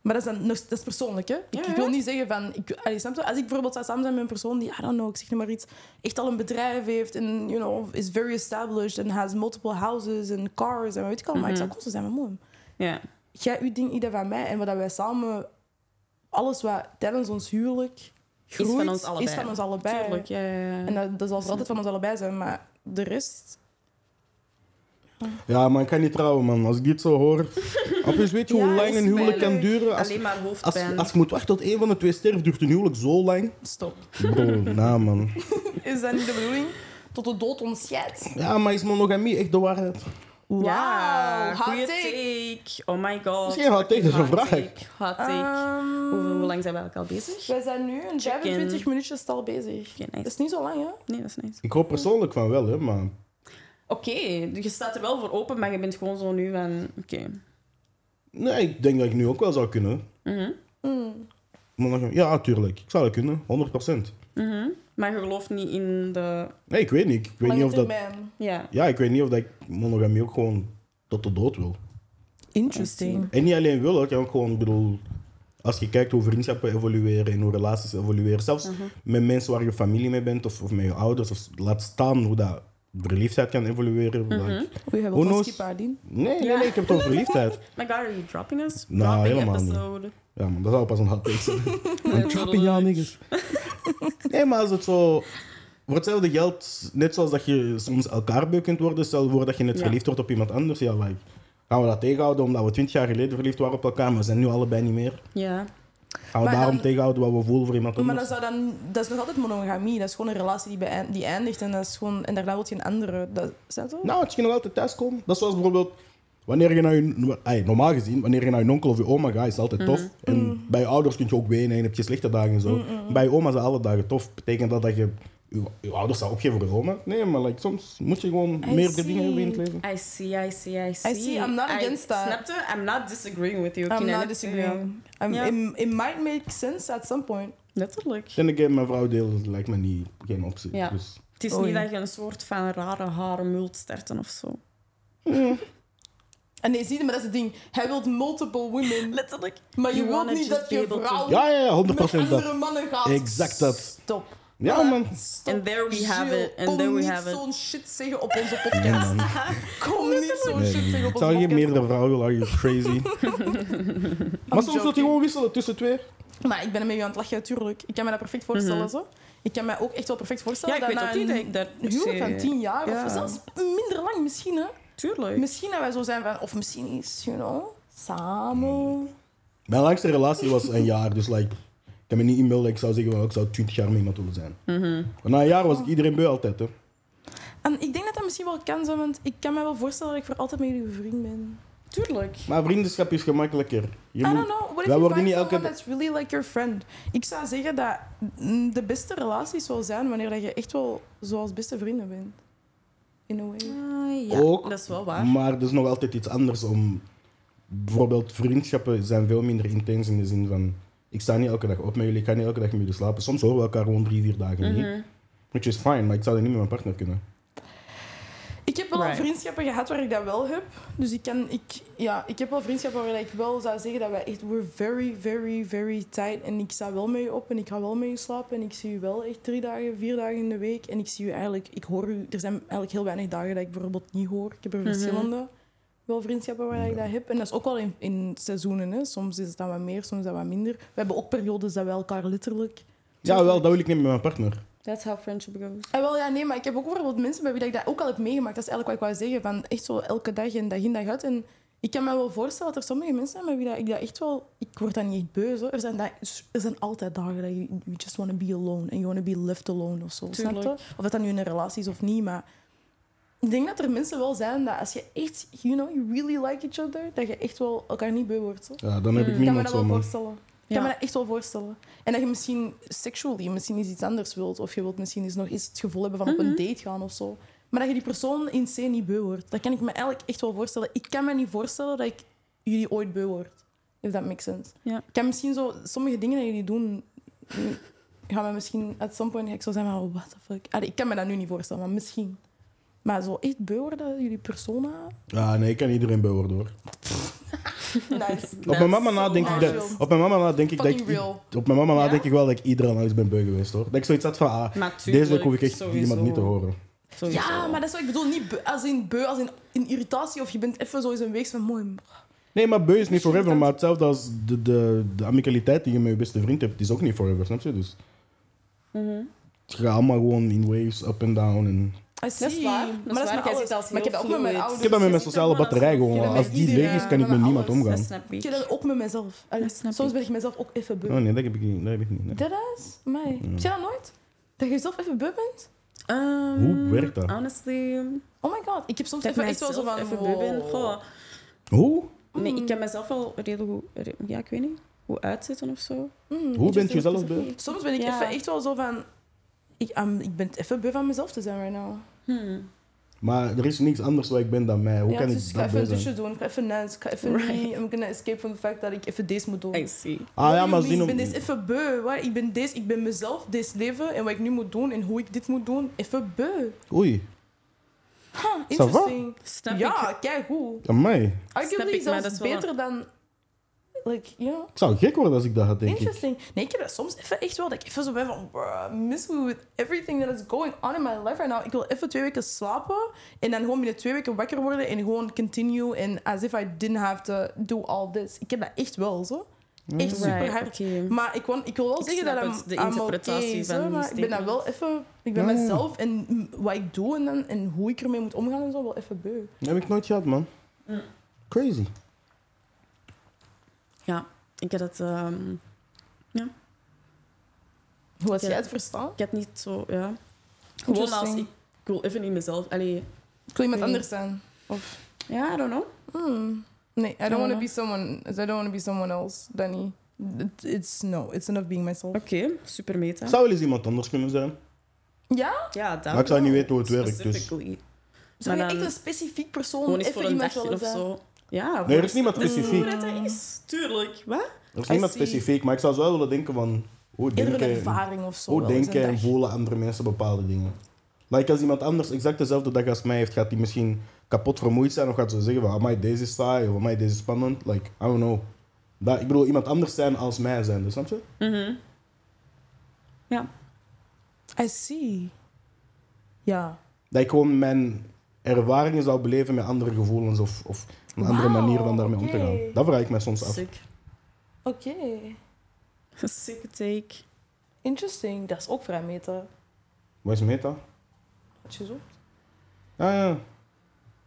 Maar dat is, dan, nog- dat is persoonlijk, hè? Ik,
Ja,
ik wil
ja.
niet zeggen van... Ik, allee, snap je? Als ik bijvoorbeeld zou samen zijn met een persoon die, I don't know, ik zeg nu maar iets, echt al een bedrijf heeft en, you know, is very established en has multiple houses en cars en weet ik al,
Mhm.
maar ik zou constant zijn met moem.
Ja.
jij uw ding, ieder van mij. En wat dat wij samen, alles wat tijdens ons huwelijk
van
groeit,
ons allebei.
Is van ons allebei.
Tuurlijk, ja, ja, ja.
En dat, dat zal voor altijd van ons allebei zijn, maar de rest...
Ja, maar ik kan niet trouwen, man. Als ik dit
[laughs]
zo hoor. Op eens weet je hoe
Ja,
lang
is
een huwelijk kan
pijnlijk.
duren. Als,
Alleen maar
als,
hoofdpijn.
als je moet wachten tot een van de twee sterft, duurt een huwelijk zo lang.
[laughs]
Stop.
Bro, nou man.
Is dat niet de bedoeling? Tot de dood ons scheidt.
Ja, maar is monogamie echt de waarheid?
Ja,
Wauw, hot
goeie
take.
take. Oh my god.
Misschien hot take, dat is een
Hot
vraag. Ah.
take, Hot take.
Ehm,
Hoe, hoe lang zijn we eigenlijk al bezig?
Wij zijn nu een 25 minuutjes al bezig.
Oké, nice.
Dat is niet zo lang, hè?
Nee, dat is nice.
Ik hoop persoonlijk van wel, hè, maar...
Oké, dus je staat er wel voor open, maar je bent gewoon zo nu van... Oké.
Nee, ik denk dat ik nu ook wel zou kunnen.
Mhm.
Monogamie- Ja, tuurlijk. Ik zou dat kunnen, 100%.
Mhm. Maar je gelooft niet in de...
Nee, ik weet niet. Ik weet niet
Lange
of dat...
termijn.
Ja.
Ja, ik weet niet of dat ik monogamie ook gewoon tot de dood wil.
Interesting.
En niet alleen wil, ik kan ook gewoon, ik bedoel, als je kijkt hoe vriendschappen evolueren en hoe relaties evolueren, zelfs met mensen waar je familie mee bent of, of met je ouders, of laat staan hoe dat verliefdheid kan evolueren. hoe dat-
We hebben
Who
ook een
knows?
skipaardien.
Nee, nee, nee, ik heb het [laughs] over verliefdheid.
My god, are you dropping us?
Nou,
dropping
helemaal niet.
episode.
Ja, man, dat zou pas een hot take
[laughs]
zijn.
I'm
Dropping jou niggas. Nee, maar als het zo... Voor hetzelfde geld, net zoals dat je soms elkaar beu kunt worden, stel voor dat je net
Ja.
verliefd wordt op iemand anders, ja, like, gaan we dat tegenhouden omdat we twintig jaar geleden verliefd waren op elkaar, maar we zijn nu allebei niet meer.
Ja.
Gaan we
Maar
daarom
dan-
tegenhouden wat we voelen voor iemand
Maar
anders?
dat, zou dan, dat is nog altijd monogamie. Dat is gewoon een relatie die, beëin- die eindigt en, dat is gewoon, en daarna wil je een andere. Dat, is dat zo?
Nou, het kan nog altijd thuiskomen. Dat is zoals bijvoorbeeld, wanneer je naar je... ey, normaal gezien, wanneer je naar je onkel of je oma gaat, is het altijd
Mm.
tof. En bij je ouders kun je ook wenen en heb je slechte dagen en zo.
mm.
Bij je oma zijn alle dagen tof. Betekent dat dat je je, je ouders zou opgeven voor je oma? Nee, maar like, soms moet je gewoon meerdere dingen hebben in het leven.
I see, I see, I see.
see, I'm not
I-
against that.
Snapte? I'm not disagreeing with you.
I'm
Kinelli.
not disagreeing. dus I'm,
Ja.
it, it might make sense at some point.
Ja, Letterlijk.
En ik heb mijn vrouw deel, lijkt me niet, geen optie.
Ja.
Dus,
Het is
Oei.
niet dat je een soort van rare haren mult starten of zo.
En nee, zie je, maar dat is het ding. Hij wilt multiple
[laughs]
women.
Letterlijk.
Maar je
You
wilt
wanna
niet
just
dat
be
je
able to-
vrouw
ja, ja, ja, 100%
met andere
dat.
mannen gaat.
Exact dat.
Stop.
Ja, man.
Stop.
And there we have
Jill,
it. And
kom
there we
niet
have it.
zo'n shit zeggen
[laughs]
op onze
Nee,
podcast.
man.
[laughs] Kom niet zo'n
Nee,
shit
nee, nee.
zeggen op
Ik
onze
zou
podcast.
geen meerdere vrouwen willen, are you
[laughs]
crazy? maar soms wil je
joking.
gewoon wisselen tussen twee.
Maar ik ben ermee aan het lachen, natuurlijk. Ik kan me dat perfect voorstellen. zo. Ik kan me ook echt wel perfect voorstellen
Mhm. Ja, ik weet
dat
ook
na
niet dat
een
ik daar...
huwelijk van tien jaar,
Ja.
of zelfs minder lang misschien, hè.
Tuurlijk.
Misschien dat wij zo zijn van... Of misschien is, you know, samen.
Mijn langste relatie was een jaar, dus like, ik kan me niet inbeelden dat ik zou zeggen, well, ik zou 20 jaar met iemand willen zijn.
Mhm.
Maar na een jaar was ik iedereen beu altijd. Hè.
En ik denk dat dat misschien wel kan zijn, want ik kan me wel voorstellen dat ik voor altijd met jullie vriend ben.
Tuurlijk.
Maar vriendschap is gemakkelijker. Je
I
moet-
don't know. What if
Mm. wij
you
worden
find
niet
someone
elke dag-
that's really like your friend? Ik zou zeggen dat mm, de beste relaties wel zijn wanneer dat je echt wel zoals beste vrienden bent. In a way.
Ah, ja,
Ook,
dat is wel waar.
Maar er is nog altijd iets anders om... Bijvoorbeeld vriendschappen zijn veel minder intens in de zin van... Ik sta niet elke dag op met jullie, ik ga niet elke dag met jullie slapen. Soms horen we elkaar gewoon drie, vier dagen niet.
Mhm.
Mhm.
Which is fine, maar ik zou dat niet met mijn partner kunnen.
Ik heb wel al
Right.
vriendschappen gehad waar ik dat wel heb. Dus ik, kan, ik, ja, ik heb wel vriendschappen waar ik wel zou zeggen dat wij echt... We're very, very, very tight. En ik sta wel met je op en ik ga wel met je slapen. En ik zie je wel echt drie dagen, vier dagen in de week. En ik zie je eigenlijk... Ik hoor u... Er zijn eigenlijk heel weinig dagen dat ik bijvoorbeeld niet hoor. Ik heb er verschillende wel vriendschappen waar ik dat heb. En dat is ook wel in, in seizoenen. Hè. Soms is het dan wat meer, soms is dat wat minder. We hebben ook periodes dat we elkaar letterlijk...
Ja, wel, dat wil ik niet met mijn partner.
That's how friendship goes.
Ah, wel, ja, nee, maar ik heb ook bijvoorbeeld mensen bij wie dat ik dat ook al heb meegemaakt. Dat is eigenlijk wat ik wou zeggen. Van echt zo elke dag en dag in dag uit. En ik kan me wel voorstellen dat er sommige mensen zijn bij wie dat ik dat echt wel... Ik word dan niet echt beu, zo. Er zijn, da- er zijn altijd dagen dat je you just want to be alone. And you want to be left alone of zo. Snap je?
Tuurlijk.
Of dat dan nu in een relatie is of niet, maar... Ik denk dat er mensen wel zijn dat als je echt, you know, you really like each other, dat je echt wel elkaar niet beu wordt. Zo.
Ja, dan heb ik
Ik Mhm. kan me
niemand
dat
zo,
wel
man.
voorstellen. Ik
Ja.
kan me dat echt wel voorstellen. En dat je misschien sexually misschien eens iets anders wilt. Of je wilt misschien eens nog eens het gevoel hebben van op
Mhm.
een date gaan of zo. Maar dat je die persoon in C niet beu wordt. Dat kan ik me eigenlijk echt wel voorstellen. Ik kan me niet voorstellen dat ik jullie ooit beu word. If that makes sense.
Ja.
Ik kan misschien zo... Sommige dingen die jullie doen... mm, Gaan we misschien... At some point ga ik zo zijn van... oh, What the fuck? Allee, ik kan me dat nu niet voorstellen, maar misschien. Maar zo echt beu worden, jullie
[laughs]
persona...
Ja, nee, ik kan iedereen beu worden, hoor.
Nice.
Op mijn mama na denk ik
nice.
dat. Op mijn mama na denk ik dat.
Fucking
ik-
real.
Op mijn mama na
Ja?
denk ik wel dat ik iedere analyse ben beu geweest hoor. Dat ik zoiets had van ah, deze week hoef ik echt
sowieso.
iemand niet te horen.
Sowieso.
Ja, maar dat is wat ik bedoel. Niet beu, als in beu, als in, in irritatie. Of je bent even zo eens een week van mooi.
Nee, maar beu is niet forever, maar hetzelfde als de, de, de amicaliteit die je met je beste vriend hebt, die is ook niet forever, snap je? Dus
Mhm.
Het gaat allemaal gewoon in waves, up en down. En...
I see.
is waar, dat is
maar
waar.
dat is
Jij
met alles.
zit als
Maar ik heb dat ook
heel
met mijn
fluid.
ouders.
Ik heb dat met mijn
zit
sociale
helemaal
batterij
alsof je
gewoon.
dat
Als
met
die leeg
iedereen-
is, kan
met
ik met niemand
alles.
Dat
omgaan.
snap
Ik heb
ik.
dat ook met mezelf. En
Dat snap
soms
ik.
ben ik mezelf ook even beu.
Oh nee, Mm. dat heb ik niet. Dat heb ik niet nee.
Dat is mij. Heb jij dat nooit? Dat je zelf even beu bent?
Ehm,
Hoe werkt dat?
Honestly,
Oh my god. Ik heb soms
dat ik
even echt wel
mezelf
zo van...
even beu ben.
wow. Mm.
Goh.
Hoe?
Nee, ik kan mezelf al redelijk goed... re- Ja, ik weet niet. Hoe uitzetten of zo.
Mm.
Hoe bent je zelf bij?
Soms ben ik
Ja.
even echt wel zo van... Ik, am- ik ben even beu van mezelf te zijn right now.
Hmm.
Maar er is niks anders waar ik ben dan mij. Hoe
ja,
kan
dus
ik
ik ga
dat
even
bij
een
zijn?
douche doen. Ik ga even nuts. Ik ga even
Right.
niet. I'm gonna escape from the fact dat ik even deze moet doen.
I see.
Ah ja,
What
maar
do you
zien
mean?
om...
Ik ben dus even beu. Waar? Ik, ben deze, ik ben mezelf, dit leven en wat ik nu moet doen en hoe ik dit moet doen. Even beu.
Oei,
Huh,
Ça va?
interesting.
Snap ik.
ja, kijk hoe.
mij.
Arguably
ik, maar
zelfs
dat is wel
beter dan... Like, ja.
Ik zou gek worden als ik dat had, denk ik.
Interesting. Nee, ik heb dat soms even echt wel. Dat ik even zo ben van... bruh, miss me with everything that is going on in my life right now. Ik wil even twee weken slapen. En dan gewoon binnen twee weken wakker worden. En gewoon continue. En as if I didn't have to do all this. Ik heb dat echt wel, zo. Echt super
Right,
hard.
oké.
Maar ik, kon, ik wil wel
Ik
zeggen
snap
dat
het,
I'm-
de
I'm
interpretatie
okay,
van
zo,
die
maar ik ben daar wel even... Ik ben
Ja, ja.
mezelf en mm, wat ik doe en, dan, en hoe ik ermee moet omgaan en zo wel even beu.
Dat heb ik nooit gehad, man.
Mm.
Crazy.
Ja, ik had het... ehm,
Hoe had
Ja.
jij het verstaan?
ik had niet zo... Ja. Gewoon als ik...
Interesting.
Ik wil even in mezelf... Allee...
Ik wil iemand
Nee.
anders zijn. Of...
Ja, I don't know.
Hmm. Nee, I don't want to
Ja.
be someone. I don't want to be someone else, Danny. It- It's no, it's enough being myself.
Oké, super meta.
Ik zou wel eens iemand anders kunnen zijn.
Ja?
Ja, dat
Maar ik zou
wel.
niet weten hoe het werkt, dus.
Specifically.
Zou je
Maar
echt
dan-
een specifiek
Gewoon
persoon
eens
even
voor een
iemand
dagje
willen
of
zijn?
zo. Ja,
Nee, er
voor-
is niemand
dat
specifiek.
hoe dat dat is, tuurlijk. Wat?
Er is
I
niemand
see.
specifiek, maar ik zou zo wel willen denken van... Hoe
Eerder een
denken,
ervaring of zo.
hoe
wel eens
denken
een
en
dag.
voelen andere mensen bepaalde dingen. Like als iemand anders exact dezelfde dag als mij heeft, gaat die misschien kapot vermoeid zijn of gaat ze zeggen van... Amai, deze is saai of amai, deze is spannend. Like, I don't know. Dat, ik bedoel, iemand anders zijn als mij zijn, dus snap je?
Mhm. Ja.
I see. Ja.
Dat ik gewoon mijn ervaringen zou beleven met andere gevoelens of, of een andere
Wauw,
manier van daarmee om te
oké.
gaan. Dat vraag ik mij soms af.
Sick.
Oké.
[laughs] Sick take.
Interesting. Dat is ook vrij meta.
Wat is meta?
Had je zo?
Ah ja.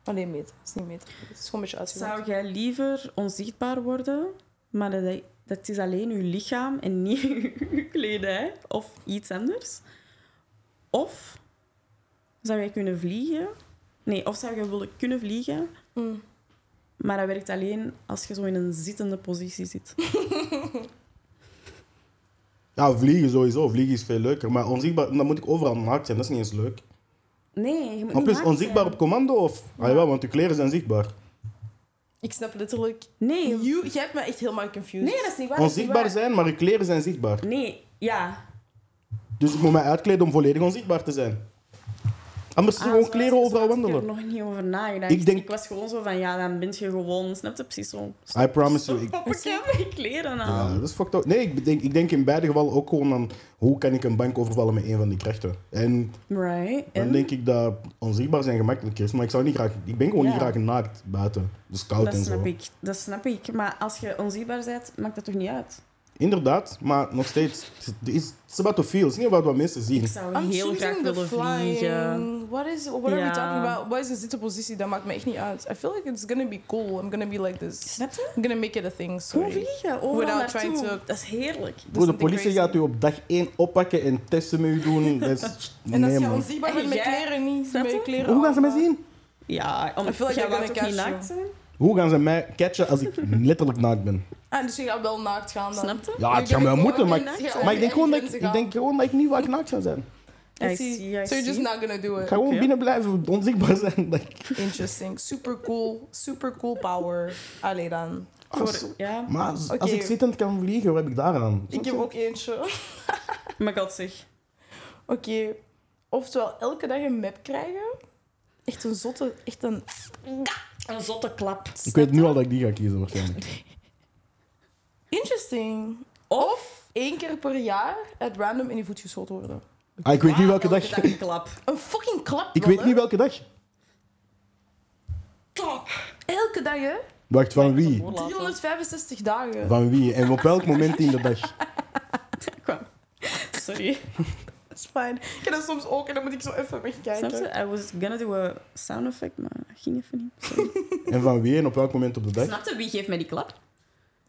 Alleen meta. Het is niet meta. Het is gewoon een beetje uitgezocht.
Zou jij liever onzichtbaar worden, maar dat, dat is alleen je lichaam en niet je kledij of iets anders? Of zou jij kunnen vliegen? Nee, of zou jij willen kunnen vliegen,
Mm.
maar dat werkt alleen als je zo in een zittende positie zit.
Ja, vliegen sowieso. Vliegen is veel leuker. Maar onzichtbaar, dan moet ik overal naakt zijn. Dat is niet eens leuk.
Nee, je moet
En
niet
plus,
naakt
onzichtbaar
zijn.
op commando of? Ah ja, want uw kleren zijn zichtbaar.
Ik snap letterlijk.
Nee,
You, jij hebt me echt helemaal confused.
nee, dat is niet waar. dat is niet
Onzichtbaar
waar.
zijn, maar uw kleren zijn zichtbaar.
Nee, ja.
Dus ik moet mij uitkleden om volledig onzichtbaar te zijn. Anders
Ah,
gewoon
zo
kleren
had ik-
overal
zo had Ik
wandelen.
heb er nog niet over nagedacht.
Ik
Ik,
denk-
was gewoon zo van, ja, dan ben je gewoon... Snap je precies zo?
I promise you. Ik,
Ik heb mijn kleren
ja,
aan.
dat is fucked up. Nee, ik denk, ik denk in beide gevallen ook gewoon aan hoe kan ik een bank overvallen met een van die krachten. En
Right.
dan
En
denk ik dat onzichtbaar zijn gemakkelijk is. Maar ik zou niet graag... Ik ben gewoon
Ja.
niet graag naakt buiten. Dus koud
dat
en zo.
snap ik. Dat snap ik. Maar als je onzichtbaar bent, maakt dat toch niet uit?
Inderdaad, maar nog steeds. Het is het is about to feel. Het is niet about wat mensen zien.
Ik zou
I'm
heel
choosing
graag
the
willen
flying.
vliegen.
What is what are we
Ja.
talking about? Wat is een zittenpositie? Dat maakt me echt niet uit. I feel like it's gonna be cool. I'm gonna be like this.
Snap je?
I'm gonna make it a thing. Sorry.
Gewoon vliegen. Overal
Without
naartoe.
trying to-
Dat is heerlijk.
Bro, de
something
politie
crazy.
gaat u op dag 1 oppakken en testen met u
[laughs]
doen. Dat is-
En als
nee,
je
man.
onzichtbaar bent
En
met
jij-
kleren niet,
Snap
met
je?
je kleren
Hoe gaan ze mij
aan.
zien?
Ja, om,
I feel like they're
jij mag
gonna
toch niet
catch
naakt zijn?
Hoe gaan ze mij catchen als ik letterlijk naakt ben?
Ah, dus je gaat wel naakt gaan dan.
Snap je?
Ja, het gaat wel moeten, maar,
Je gaat
maar ik, denk gewoon dat ik,
over je
ik denk gewoon dat ik niet vaak naakt zou zijn.
I
I
see, I
see. So you're just
see.
not gonna do
Ik
it.
ga gewoon
Oké.
binnen blijven, onzichtbaar zijn. Dat
[laughs]
ik-
Interesting. Super cool. Super cool power. Allee dan.
als-
Ja,
maar als, als
Oké.
ik zittend kan vliegen, wat heb ik daaraan?
Ik heb ook eentje.
maar god zeg.
Oké. Oftewel, elke dag een map krijgen. Echt een zotte, echt een...
Een zotte klap.
Ik weet nu al dat ik die ga kiezen waarschijnlijk.
Interesting.
Of...
één keer per jaar at random in je voet geschoten worden.
Ah, ik weet niet welke
Elke
dag.
dag een klap.
Een fucking klap.
[laughs] Ik
wel,
weet
hè?
niet welke dag.
Elke dag, hè?
Wacht, van wie?
Laten.
365 dagen.
Van wie? En op welk moment in de dag?
Sorry.
is fijn. Ik ken dat soms ook en dan moet ik zo even
Snap
wegkijken.
je? I was gonna do a sound effect, maar dat ging even niet. Sorry.
En van wie en op welk moment op de dag?
Snap je? Wie geeft mij die klap?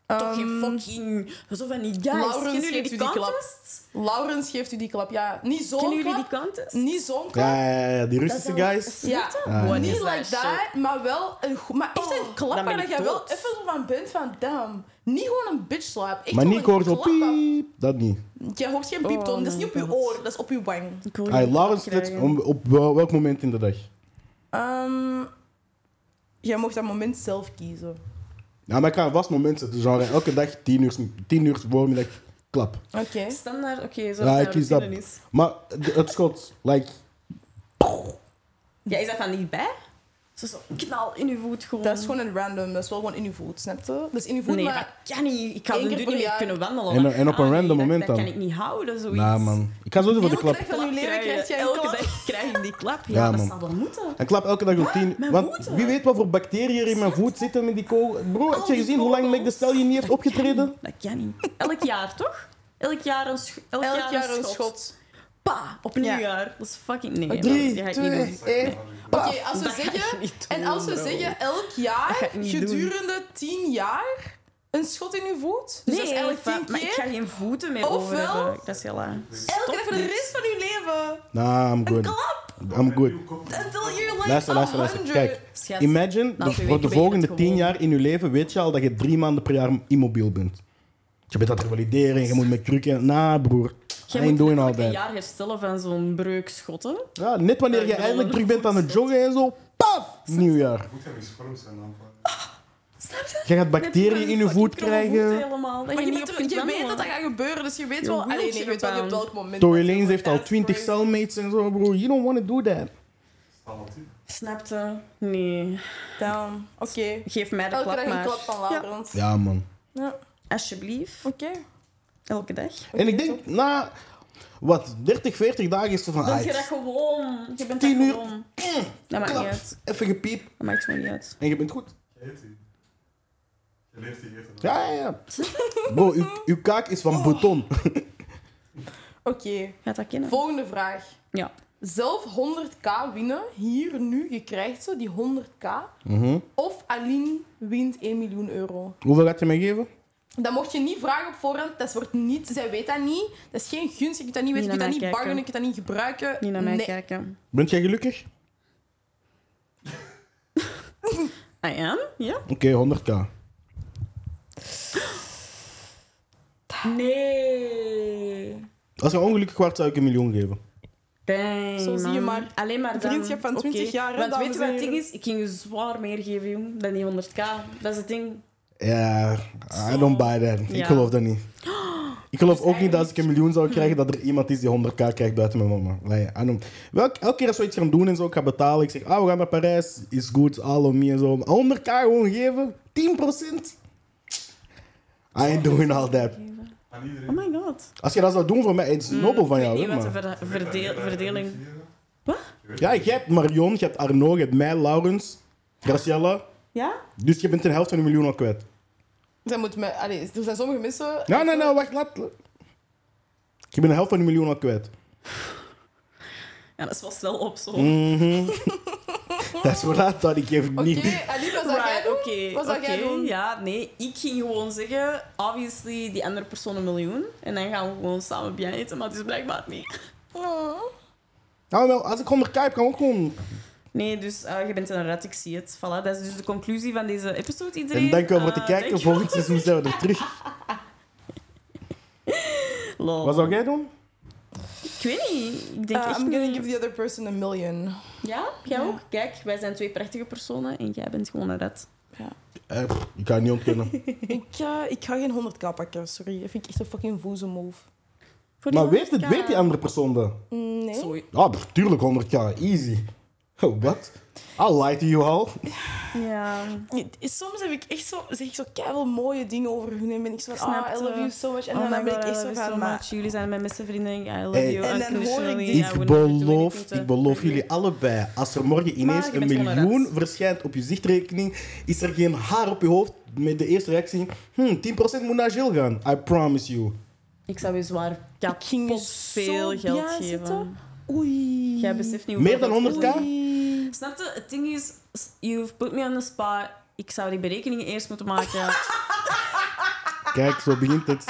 Toch geen
Ehm,
fucking... Zo van die guys.
Laurens
Kennen jullie
geeft
die
u die klap.
contest?
Laurens geeft u die klap. Ja, niet
Kennen
zo'n
jullie die
klap.
contest?
Niet zo'n klap.
Ja, ja, ja, die Russische
Dat is al-
guys.
Ja,
Ah,
What
niet
is that
like
shit?
dat, maar wel een goed... Maar echt een klap
dan ben
waar
ik
jij wel
dood.
even zo van bent van, damn. Niet gewoon een bitch slap. Echt
Maar
gewoon
niet
een
hoort zo
klap af.
piep. Dat niet.
Jij hoort geen pieptoon,
Oh
dat is
my
niet op je
God.
oor, dat is op je wang.
Ik wil
Hey,
die
Laurens,
klap
let's-
krijgen.
om- op wel- welk moment in de dag?
Ehm, jij mocht dat moment zelf kiezen.
Ja, maar ik ga een vast dus moment zetten. Genre elke dag 10 uur, 10 uur voormiddag klap.
Oké.
Standaard, oké, zo
Ja,
dat
ik kies
dat. routine
dat.
is.
Maar d- het schot, like,
Ja, is dat van niet bij? Zo, zo knal in uw voet gewoon.
Dat is gewoon een random, dat is wel gewoon in je voet, snap je? Dat is in je voet,
Nee, dat
maar...
kan niet. Ik kan
Eén
nu
keer
niet
per
meer
jaar.
kunnen wandelen.
En-
maar-
en op een
Ah, nee,
random
dat-
moment
Dat
dan.
kan ik niet houden, zoiets.
nou man. Ik ga sowieso voor de
Elke
klap.
dag van je leven krijg jij een
elke
klap.
dag krijg je die klap. Ja,
Ja,
dat
man.
zou wel moeten.
En klap elke dag om
Ah, Mijn
10. Want
voeten.
wie weet wat voor bacteriën er in mijn voet zitten met die kogel. Bro, heb je
die
gezien hoe lang
kogels. Oh
Meg de Stallion niet heeft opgetreden?
Dat kan niet. Elk jaar, toch? Elk jaar een, sch- elk
Elk jaar een
schot.
schot.
Pa, op een
Ja.
jaar. Dat is fucking... Nee,
Drie,
dat ga ik niet doen.
twee, één.
Oké, als we
Dat ga
zeggen...
ik niet doen,
En als we
bro.
zeggen elk
Dat ga
jaar,
ik niet doen.
gedurende tien jaar, een schot in je voet? Dus
Nee,
dat is eigenlijk
va-
tien
maar ik
keer.
ga geen voeten meer
Ofwel-
over hebben. Dat is heel eh, laag.
Elke dag
Stop
voor de
dit.
rest van je leven.
Nah, I'm good.
Klap!
I'm good.
Until you're like
Luister, luister, luister.
100.
Kijk,
Schat,
imagine,
twee
dat voor
weken ben
de
je
volgende
het
tien
gewoon.
jaar in je leven weet je al dat je drie maanden per jaar immobiel bent. Je bent aan het revalideren, je moet met krukken. Nah, broer.
Jij
I
moet
ain't doing all
letterlijk een
that.
jaar herstellen van zo'n breuk schotten.
Ja, net wanneer je
Ja, ik bedoel,
eindelijk terug bent aan het joggen en zo, paf, nieuwjaar.
Moet je misvormd zijn aanpakken?
Je
Net
gaat bacteriën
van
in je
die
voet
fucking kromme voeten
krijgen.
helemaal. Dat
Maar je,
niet
bent
op
er-
kunt
je weet dat
wandelen.
dat gaat gebeuren, dus je weet
Your
wel... Alleen, je
wheelchair
weet wel niet op
bound.
welk moment...
Tory
dat-
Lanez heeft al
That's
20
crazy.
cellmates en zo, bro. You don't want to do that.
Stalatief.
Snapte? Nee.
Damn, Oké.
Geef mij de
Elke
klap
dag een
maar.
klap van Laurens. Ja.
Ja, man.
Alsjeblieft.
Oké.
Elke dag.
En ik denk, na, wat, 30, 40 dagen is er van,
Want
ah,
je dat gewoon. Je bent
Tien
dat
uur. Mm.
gewoon. Dat maakt niet
klap,
uit.
even gepiep
Dat maakt gewoon niet uit.
en je bent goed.
Je eet die. Je leeft die eten.
Ja, ja,
[laughs]
ja. Bro, uw, uw kaak is van beton.
Oké.
Gaat dat kennen?
Volgende vraag.
Ja.
Zelf 100k winnen, hier nu, je krijgt ze, die 100k.
Mhm.
Of Aline wint 1 miljoen euro.
Hoeveel gaat je mij geven?
Dat mocht je niet vragen op voorhand. Dat wordt niet, zij weet dat niet. Dat is geen gunst. Je kunt dat niet weten. je kunt dat
Niet naar mij
niet
kijken.
bargainen. Je kunt dat niet gebruiken.
Niet naar mij
nee.
kijken.
Bent jij gelukkig?
I am? Ja?
Oké, 100k.
Nee.
Als je ongelukkig wordt, zou ik een miljoen geven.
Dang,
Zo zie je
man.
maar.
Alleen maar
Een
dan.
vriendschap van
Oké.
20 jaar, hè,
Want
dames
weet je
en
wat het ding
heren?
is? Ik ging je zwaar meer geven, jong, dan die 100k. Dat is het ding.
Ja, I
Zo.
don't buy that. Ik
Ja.
geloof dat niet. Ik
[gasps]
geloof ook niet dat als
eigenlijk-
ik een miljoen zou krijgen, dat er iemand is die 100k krijgt buiten mijn mama. Like, I don't... Welk, elke keer als we iets gaan doen en zo, ik ga betalen. Ik zeg, ah, we gaan naar Parijs, is goed, all on me en zo. Maar 100k gewoon geven, 10%. I ain't doing all that.
Aan iedereen.
Oh my god.
Als je dat zou doen voor mij, het is nobel van jou,
Mm, Ik weet
hè,
niet wat de
maar.
ver- verdeel- verdeling... Wat?
Ja, jij hebt Marion, je hebt Arno, je hebt mij, Laurens, Graciella.
Ja?
Dus je bent een helft van een miljoen al kwijt.
Zij moet me, allee, er zijn sommige mensen...
Nee, nee, nee, Nou, wacht, laat. Ik ben de helft van een miljoen al kwijt.
Ja, dat is wel snel op, zo.
Mm. Dat is wat I thought, ik geef het
Oké,
niet.
Aline, wat zou jij
Right,
doen?
oké.
Wat zou jij
oké,
doen?
Ja, nee, ik ging gewoon zeggen, obviously, die andere persoon een miljoen. En dan gaan we gewoon samen bij eten, maar het is blijkbaar niet.
Oh.
Nou, wel, als ik 100k heb, kan ik ook gewoon...
Nee, dus eh, je bent een rat, ik zie het. Voilà, dat is dus de conclusie van deze episode, iedereen.
En dankjewel voor het
Eh,
kijken.
dankjewel.
Volgend seizoen zijn we er terug.
Lol.
Wat zou jij doen?
Ik weet niet. Ik denk
Uh,
echt
I'm gonna
niet.
give the other person a million.
Ja, jij ook? Kijk, wij zijn twee prachtige personen en jij bent gewoon een rat.
Eh, pff, ik kan het niet ontkennen.
ik, eh, ik ga geen 100k pakken, sorry. Dat vind ik echt een fucking voeze move.
Voor die
Maar weet, het,
100k.
weet die andere persoon dat?
Mm, Nee.
Sorry.
Ah, pff, tuurlijk 100k. Easy. Oh, wat? I lied to you all.
Ja.
Soms heb ik echt zo, zeg ik zo keihard mooie dingen over hun en ben ik zo van,
Snap
ah, I
je?
love you so much. En
oh
dan
my
ben
god,
ik
ik
echt zo
so
van, maar
much. Jullie zijn mijn beste vrienden. I love
Hey.
you
En dan hoor ik
unconditionally.
dit.
I
Ik
will never do
beloof,
anything to-
ik beloof jullie allebei. Als er morgen ineens
eh, je
een
bent gewoon een
miljoen
rat.
verschijnt op je zichtrekening, is er geen haar op je hoofd met de eerste reactie. Hm, 10% moet naar Jill gaan. I promise you.
Ik zou je zwaar
ging je
kapot veel
zo
geld
bij
geven.
zitten. Oei.
Jij beseft niet
Meer dan
hoeveel dat
100k?
kost. Snap je? Het ding is, s- you've put me on the spot. Ik zou die berekeningen eerst moeten [laughs] maken.
Kijk, zo
[laughs]
begint het.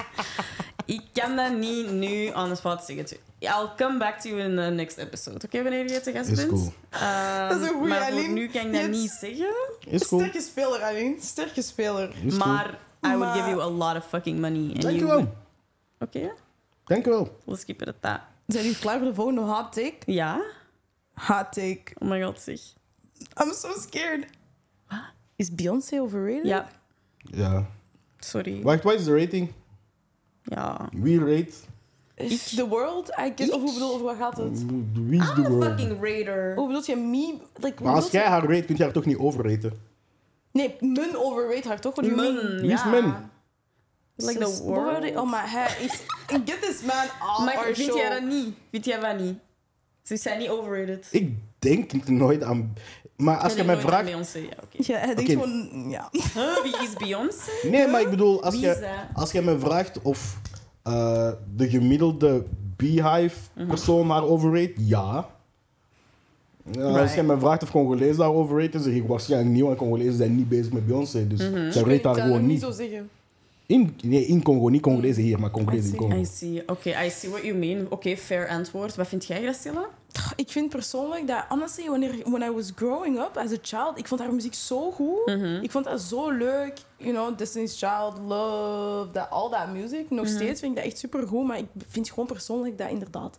ik kan dat niet nu on the spot zeggen. tu- I'll come back to you in the next episode. Oké, wanneer je te gast
Is
bent?
cool.
Ehm,
Dat is een goeie,
Maar voor
Aline.
nu kan ik
Je
dat
hebt-
niet zeggen.
Is cool.
Sterke speler, Aline. Sterke speler.
Is cool.
Maar I would
Maar-
give you a lot of fucking money. and you
Dankjewel.
would- Oké,
Dankjewel.
let's keep it at that.
Zijn jullie klaar voor de volgende hot take?
Ja?
Hot take.
Oh my god, zeg.
I'm so scared. Is Beyoncé overrated?
Ja,
Ja.
sorry.
Wacht, wat is de rating?
Ja.
Wie rate?
Is the world, I guess. Of hoe bedoel of wat gaat het?
Wie is de world?
Ah, Fucking raider.
Hoe bedoel je me? Like, hoe
Maar als
bedoel
jij
je-
haar rate, kun je haar toch niet overraten?
Nee, mun overrate haar toch? What do you mean?
Mun,
Wie is
ja.
men?
Like the
Sis, what are they-
world.
Oh, maar hij is... [laughs] Get this man off
Maar
our
vind
show.
jij dat niet? Vind jij dat niet? Ze zijn niet overrated.
Ik denk nooit aan... Maar als
Ik
je
ben
mij
nooit aan
vraagt...
Beyoncé, ja, oké. [laughs]
Ja, hij denkt
Oké.
gewoon... Ja.
Huh, wie is Beyoncé?
Nee, maar ik bedoel, als
Wie is
je,
dat?
als je mij vraagt of eh, de gemiddelde Beehive-persoon haar overrate, ja. Ja, Als
Right.
je mij vraagt of Congolezen haar overraten, zeg ik waarschijnlijk niet, want Congolezen zijn niet bezig met Beyoncé. Dus zij
Ik
rate haar
zou dat
gewoon
niet
niet.
zo zeggen.
In, nee, in Congo, niet Congolezen hier, maar Congolezen in Congo.
Mm. I see. Oké, I see what you mean. Oké, fair antwoord. Wat vind jij, Graciela?
Ik vind persoonlijk dat, honestly, wanneer when I was growing up as a child, ik vond haar muziek zo goed.
Mhm.
Ik vond dat zo leuk. You know, Destiny's Child, Love, that, all that music. Nog
Mhm.
steeds vind ik dat echt super goed, maar ik vind gewoon persoonlijk dat inderdaad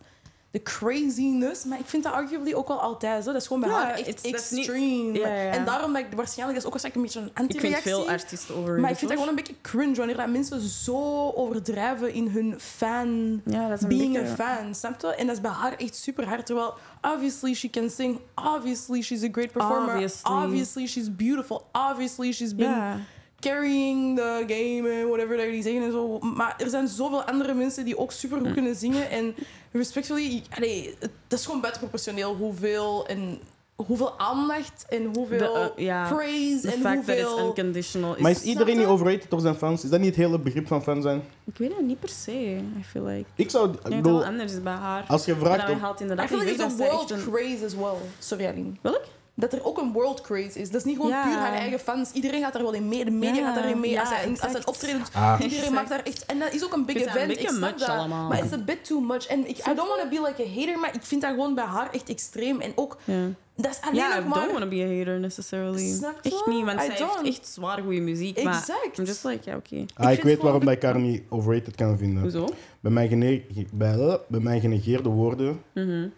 de craziness. Maar ik vind dat arguably ook wel altijd zo. Dat is gewoon bij
Ja,
haar
it's-
echt
dat is niet-
extreem.
Ja, ja, ja.
En daarom dat ik waarschijnlijk, dat is ook waarschijnlijk een beetje een
Ik vind
anti-reactie.
veel artiesten overrated.
maar ik vind dat
hoor.
gewoon een beetje cringe wanneer dat mensen zo overdrijven in hun fan
Ja, dat is een
being
beetje...
a fan, snap je? En dat is bij haar echt super hard. Terwijl, obviously she can sing, obviously she's a great performer,
Obviously.
obviously, she's beautiful, obviously she's been
Ja.
carrying the game en whatever dat jullie zeggen en zo. Maar er zijn zoveel andere mensen die ook super
Mm.
goed kunnen zingen en respectfully, allee, het- dat is gewoon buitenproportioneel hoeveel en hoeveel aandacht en hoeveel
De, eh, ja.
praise
The
en
fact
hoeveel.
that it's unconditional is...
Maar is iedereen niet overrated door zijn fans? Is dat niet het hele begrip van fan zijn?
Ik weet het niet per se, I feel like.
Ik zou... Ik
Ik denk dat
bedoel,
wel anders is bij haar.
als je
Maar
vraagt...
dan
Of,
haalt inderdaad
I feel
niet
like
weg
there's a
dat zij echt
world
een...
craze as well. Sorry, Aline.
Welk?
dat er ook een world craze is. Dat is niet gewoon
Ja.
puur haar eigen fans. Iedereen gaat daar wel in mee. De media
Ja,
gaat daarin mee.
ja,
als, hij, een- als
exact.
hij een optreden doet,
[laughs]
Ah.
iedereen
Exact.
maakt daar echt... En dat is ook een big
Ik vind dat een
event.
beetje
ik snap
much
dat.
allemaal.
Maar it's a bit too much. En ik, I don't want to be like a hater, maar ik vind dat gewoon bij haar echt extreem. En ook,
Ja.
dat is alleen
Ja, I
nog maar...
don't want to be a hater necessarily.
Snap je?
echt niet, want
I
zij
don't.
heeft echt zwaar goede muziek. Maar
Exact.
I'm just like, ja, oké.
ah, ik
vind
weet
gewoon-
waarom ik haar niet overrated kan vinden.
Hoezo?
Bij mijn, gene- bij, bij mijn genegeerde woorden,
Mhm.